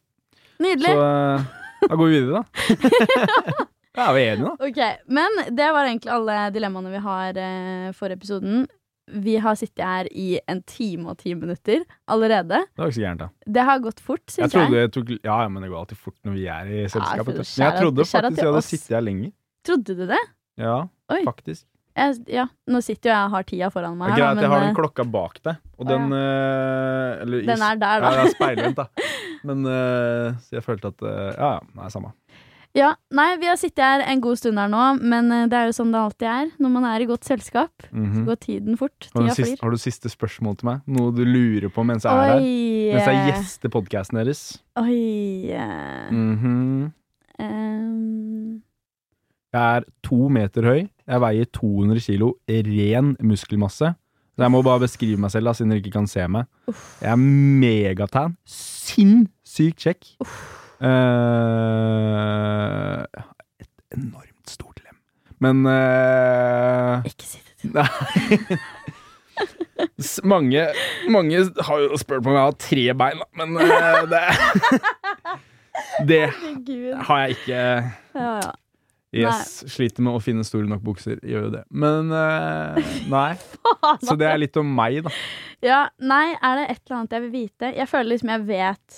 Så Nydelig! eh, da går vi videre, da. Da er vi enige, da. Ok, Men det var egentlig alle dilemmaene vi har eh, for episoden. Vi har sittet her i en time og ti minutter allerede. Det var ikke så gærent, da. Det har gått fort, Jeg syns jeg. altså, trodde jeg tok, ja, ja, men det går alltid fort når vi er i selskapet. vet for du. men jeg skjæra- trodde skjæra faktisk til jeg hadde oss. sittet her lenger. Trodde du det? Ja, Oi. faktisk. jeg, ja, nå sitter jo jeg og har tida foran Det er meg her, greit, jeg har men den klokka bak deg, og Å, den eh, eller, eh, i- den er Ja, der, da. den er speilvendt, da. Men eh, så jeg følte at eh, Ja, ja. Nei, samme. Ja, nei, vi har sittet her en god stund her nå, men eh, det er jo sånn det alltid er når man er i godt selskap. Så Mhm. går tiden fort. Har, du Tida siste, flyr. har du siste spørsmål til meg? Noe du lurer på mens jeg er her? Oi! Mens jeg eh, gjester podkasten deres? Oi! eh, Mhm. em, Jeg er to meter høy. Jeg veier 200 kilo ren muskelmasse. Så jeg må bare beskrive meg selv, da, siden dere ikke kan se meg. uff. Jeg er megatan. Sinnssykt kjekk. Eh, et enormt stort lem. Men eh, Ikke si det til s- mange, mange har jo spurt på om jeg har tre bein, da, men eh, det Det noen. Gud. har jeg ikke Ja, ja. Yes, sliter med å finne store nok bukser. Gjør jo det. Men eh, nei. Så det er litt om meg, da. ja, nei, er det et eller annet jeg vil vite? Jeg føler liksom jeg vet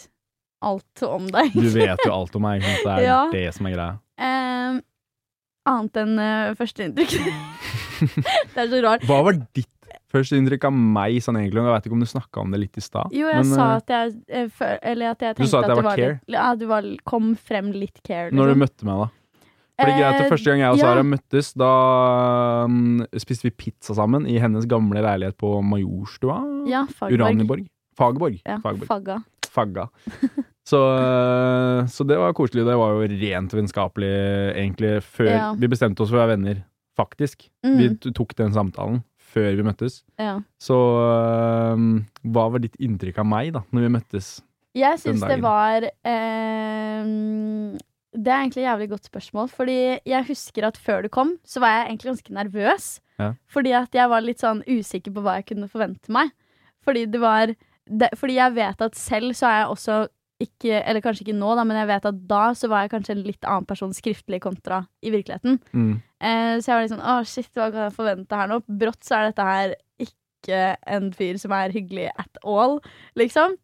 alt om deg. Du vet jo alt om meg. ikke sant? Det er Ja. det som er greia. Em, annet enn uh, førsteinntrykk. det er så rart. Hva var ditt førsteinntrykk av meg sånn egentlig? Jeg vet ikke om du snakka om det litt i stad. Jo, jeg men, sa eh, at jeg, eh, fø- eller at jeg Du tenkte sa at jeg det var care. litt, Ja, du var, kom frem litt care. Når liksom. du møtte meg, da. For det er greit at Første gang jeg og Eh, ja. Sara møttes, da mm, spiste vi pizza sammen i hennes gamle leilighet på Majorstua. ja, Fagerborg. Uranienborg. Fagerborg. Ja, Fagerborg. Fagga. fagga. Så, eh, så det var koselig. Det var jo rent vennskapelig, egentlig, før Ja. vi bestemte oss for å være venner, faktisk. Mm, Vi t- tok den samtalen før vi møttes. ja. Så eh, hva var ditt inntrykk av meg, da, når vi møttes? Jeg syns den det dagen. var eh, Det er egentlig et jævlig godt spørsmål. Fordi jeg husker at før du kom, så var jeg egentlig ganske nervøs. Ja. Fordi at jeg var litt sånn usikker på hva jeg kunne forvente meg. Fordi det var det, Fordi jeg vet at selv så er jeg også ikke Eller kanskje ikke nå, da, men jeg vet at da så var jeg kanskje en litt annen person skriftlig kontra i virkeligheten. Mm. Eh, så jeg var litt sånn Å, shit, hva kan jeg forvente her nå? Brått så er dette her ikke en fyr som er hyggelig at all, liksom.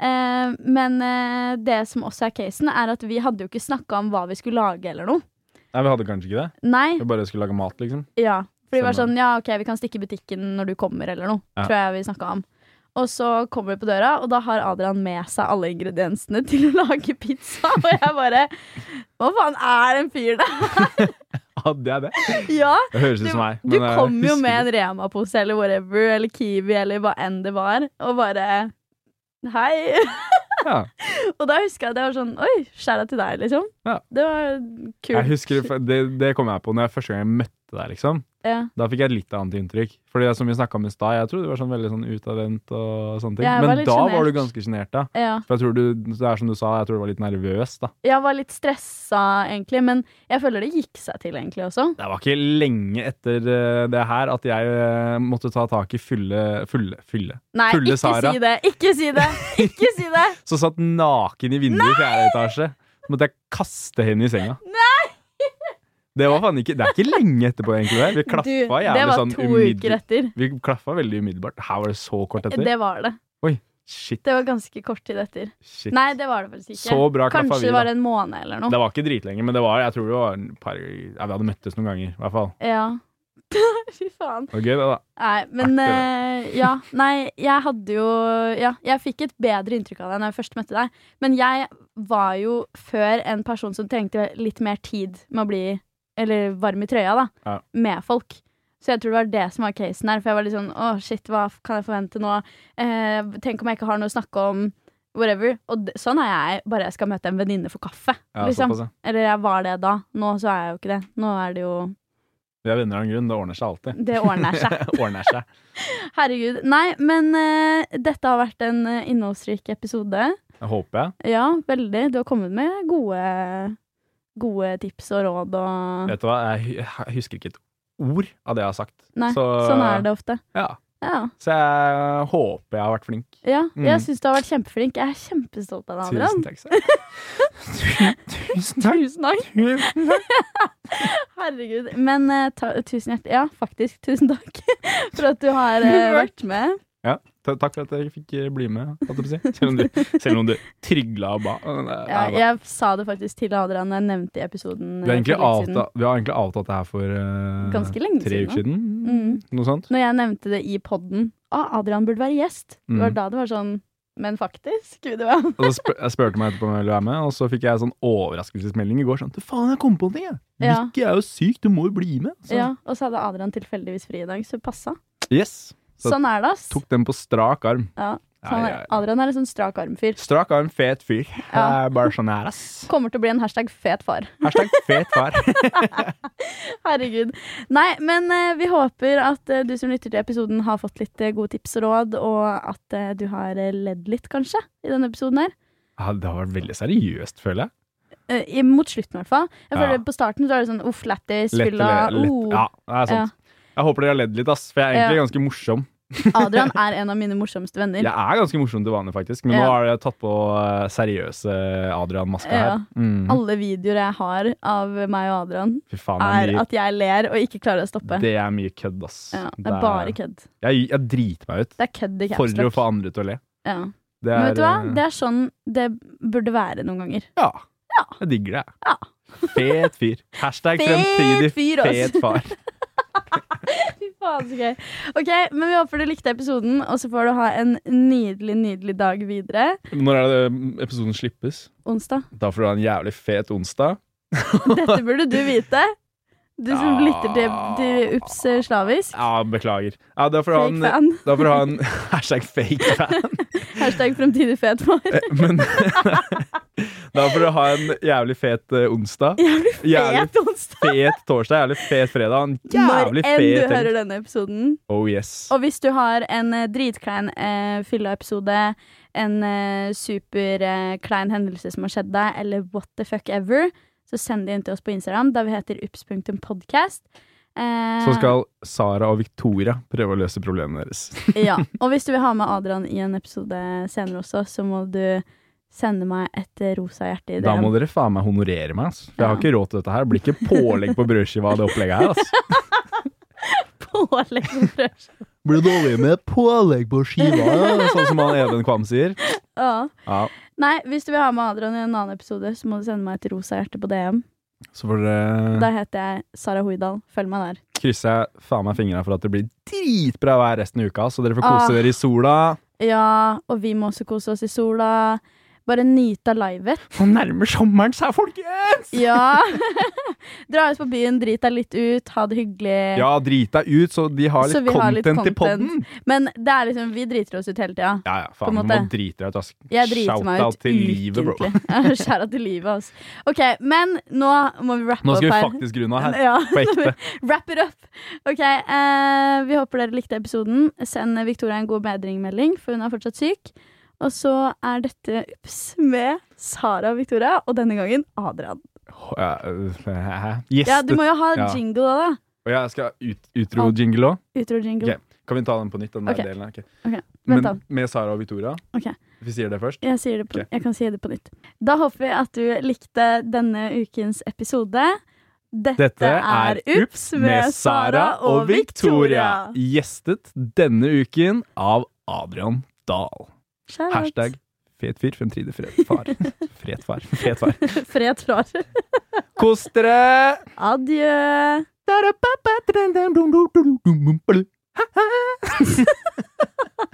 Eh, men eh, det som også er casen, er at vi hadde jo ikke snakka om hva vi skulle lage eller noe. Nei, vi hadde kanskje ikke det. Nei. Vi bare skulle lage mat, liksom. Ja. For det var Stemmer. sånn Ja, OK, vi kan stikke i butikken når du kommer, eller noe. Ja. Tror jeg vi snakka om. Og så kommer vi på døra, og da har Adrian med seg alle ingrediensene til å lage pizza. Og jeg bare Hva faen er den fyren der? Hadde jeg det? Ja! Det høres ut Du, som meg. du men jeg kom jo husker med det. en Rema-pose eller whatever, eller Kiwi, eller hva enn det var, og bare Hei! ja. Og da husker jeg at jeg var sånn Oi, skjæra til deg, liksom. Ja. Det var kult. Jeg husker det, det, det kom jeg på når jeg første gang jeg møtte deg, liksom. ja. Da fikk jeg et litt annet inntrykk. Fordi som vi snakket om i stad, jeg trodde du var sånn veldig sånn utadvendt og sånne ting. Ja, jeg var Men litt da var sjenert. du ganske sjenert, da. Ja. For jeg tror du, det er som du sa, jeg tror du var litt nervøs, da. Jeg var litt stressa, egentlig, men jeg føler det gikk seg til, egentlig, også. Det var ikke lenge etter eh, det her at jeg eh, måtte ta tak i fylle Fylle? fylle. Nei, Fulle ikke Sara. si det! Ikke si det! Ikke si det! Så satt naken i vinduet i fjerde etasje. Så måtte jeg kaste henne i senga. Nei! Det var faen ikke Det er ikke lenge etterpå, egentlig. Det. Vi klaffa Du, det jævlig var sånn to uker umiddelbart. etter. Vi klaffa veldig umiddelbart. Her var det så kort etter. Det var det. Shit. Det var ganske kort tid etter. shit. Nei, det var det faktisk ikke. Så bra klaffa vi, Kanskje det da. var en måned eller noe. Det var ikke dritlenge, men det var, jeg tror det var en par ja, Vi hadde møttes noen ganger, i hvert fall. Ja. Fy faen. Det var gøy, det, da. Nei, men Artig, eh, Ja, nei, jeg hadde jo Ja, jeg fikk et bedre inntrykk av deg når jeg først møtte deg. Men jeg var jo før en person som trengte litt mer tid med å bli Eller varm i trøya, da. Ja. Med folk. Så jeg tror det var det som var casen her. For jeg var litt sånn Å, shit, hva f- kan jeg forvente nå? Eh, tenk om jeg ikke har noe å snakke om? Whatever. Og d sånn er jeg bare jeg skal møte en venninne for kaffe. Ja, liksom. såpass, ja. Eller jeg var det da. Nå så er jeg jo ikke det. Nå er det jo Vi er venner av en grunn. Det ordner seg alltid. Det ordner seg. ordner seg. Herregud. Nei, men eh, dette har vært en eh, innholdsrik episode. Det håper jeg. Ja, veldig. Du har kommet med gode, gode tips og råd og Vet du hva, jeg hu- jeg husker ikke et ord av det jeg har sagt. Nei, så, sånn er det ofte. Ja. Ja. Så jeg håper jeg har vært flink. ja. Mm. Jeg syns du har vært kjempeflink. Jeg er kjempestolt av deg, Adrian. Tusen takk. Sara. Tu- Tusen takk. Tusen takk. Tusen takk. Herregud. Men eh, ta, tusen hjertelig Ja, faktisk, tusen takk for at du har eh, vært med. Ta- Takk for at jeg fikk eh, bli med, holdt jeg på å si. Selv om du, selv om du trygla og ba. Nei, Ja, nei, da. jeg sa det faktisk til Adrian da jeg nevnte i episoden. Vi har eh, egentlig for litt siden. avtalt, vi har egentlig avtalt det her for eh, Ganske lenge tre siden uker siden. Mm. Noe sånt. Når jeg nevnte det i podden Å, Adrian burde være gjest. Det var Mm. da det var sånn men faktisk. Gud, det var- sånn.» Og så spør, jeg spurte meg etterpå om jeg ville være med, og så fikk jeg sånn overraskelsesmelding i går. Sånn, du faen, jeg kom på en ting, jeg. Ja. Vicky er jo syk, du må jo bli med. Så, Ja, og så hadde Adrian tilfeldigvis fri i dag, så det passa. Yes. Så- Sånn er det, ass. Tok den på strak arm. Ja, sånn Nei, er, jeg- Adrian er en sånn strak arm-fyr. Strak arm, fet fyr. Jeg Ja. er Bare sånn her, ass. Kommer til å bli en hashtag fet far. Hashtag fet far. Herregud. Nei, men eh, vi håper at eh, du som lytter til episoden har fått litt eh, gode tips og råd, og at eh, du har eh, ledd litt, kanskje, i denne episoden her. Ja, det har vært veldig seriøst, føler jeg. Eh, i- mot slutten, i hvert fall. Jeg Ja. føler På starten så er det sånn uff, lættis, Lett, fylla, lett, oh. ja, det er sant. Jeg håper dere har ledd litt, ass, for jeg er egentlig ganske morsom. Adrian er en av mine morsomste venner. Jeg er ganske morsom til vanlig, faktisk, men nå Ja. har jeg tatt på eh, seriøse Adrian-maska Ja. her. Mm. Alle videoer jeg har av meg og Adrian, Fy faen, er det er, at jeg ler og ikke klarer å stoppe. mye, det er mye kødd, ass. ja, det er bare kødd. Jeg, jeg driter meg ut Det er kødd i caps for å lock. få andre til å le. Ja. Det Men vet du hva? eh, Det er sånn det burde være noen ganger. Ja. Jeg digger det. Ja. Fet fyr. Hashtag Fet fremtidig fyr, ass. fet far. Fy faen, så gøy. Ok, men vi håper du likte episoden, og så får du ha en nydelig, nydelig dag videre. Når er det um, episoden slippes? Onsdag. Da får du ha en jævlig fet onsdag. Dette burde du vite. Du som Ja. lytter til, til Ups eh, slavisk. Ja, beklager. Ja, da får du ha Fake en, fan. da får du ha en hashtag fake fan. Hashtag fremtidig fet far. Men da får du ha en jævlig fet eh, onsdag. Jævlig Jævlig fet onsdag. fet torsdag, jævlig fet fredag. En Når jævlig enn du fet helg. hører denne episoden. Oh yes. Og hvis du har en eh, dritklein eh, fylla-episode, en eh, superklein eh, klein hendelse som har skjedd deg, eller what the fuck ever, så send det inn til oss på Instagram, der vi heter ups.podcast. Eh, Så skal Sara og Victoria prøve å løse problemene deres. ja. Og hvis du vil ha med Adrian i en episode senere også, så må du sende meg et eh, rosa hjerte i Da må DM. dere faen meg honorere meg, ass. For jeg har Ja. ikke råd til dette her. Det blir ikke pålegg på brødskiva av det opplegget her, ass. Pålegg og brød. Blir dårlig med pålegg på skiva, sånn som han Even Kvam sier. ja. Ja, Nei, hvis du vil ha med Adrian i en annen episode, så må du sende meg et rosa hjerte på DM. så får dere Da heter jeg Sara Hoidal. Følg meg der. krysse faen meg fingrene for at det blir dritbra vær resten av uka, så dere får kose Ah. dere i sola. Ja, og vi må også kose oss i sola. Bare nyte av livet. Nå nærmer sommeren seg, folkens! Ja! Dra ut på byen, drit deg litt ut, ha det hyggelig. Ja, drit deg ut, så de har Så litt vi har content, litt i podden. Men det er liksom, vi driter oss ut hele tida. Ja, ja, På en faen, du må måte. drite deg ut, ass. Jeg driter meg Shout-out ut til livet, bro. ukentlig. Skjæra til livet, altså. OK, men nå må vi rappe Nå skal opp vi her. faktisk grunne av her. Ja. På ekte. Wrap it up! Ok, eh, Vi håper dere likte episoden. Send Victoria en god bedringmelding, for hun er fortsatt syk. Og så er dette Ups med Sara og Victoria, og denne gangen Adrian. Ja, øh, Yes! Ja, Du må jo ha Ja. jingle òg, da. Og jeg skal ut, utro-jingle òg. Utro-jingle. Ok. Kan vi ta den på nytt? Den der Ok. delen, her? Ok. Ok, vent Men da. med Sara og Victoria. Ok. Vi sier det først. Jeg, sier det på, Ok. jeg kan si det på nytt. Da håper vi at du likte denne ukens episode. Dette, Dette er Ups med Sara og Victoria. Gjestet denne uken av Adrian Dahl. Shout out. Hashtag fet fyr, fremtidig fred far. Fred far. Fet far. Fred klar. Kos dere! Adjø. Ha-ha!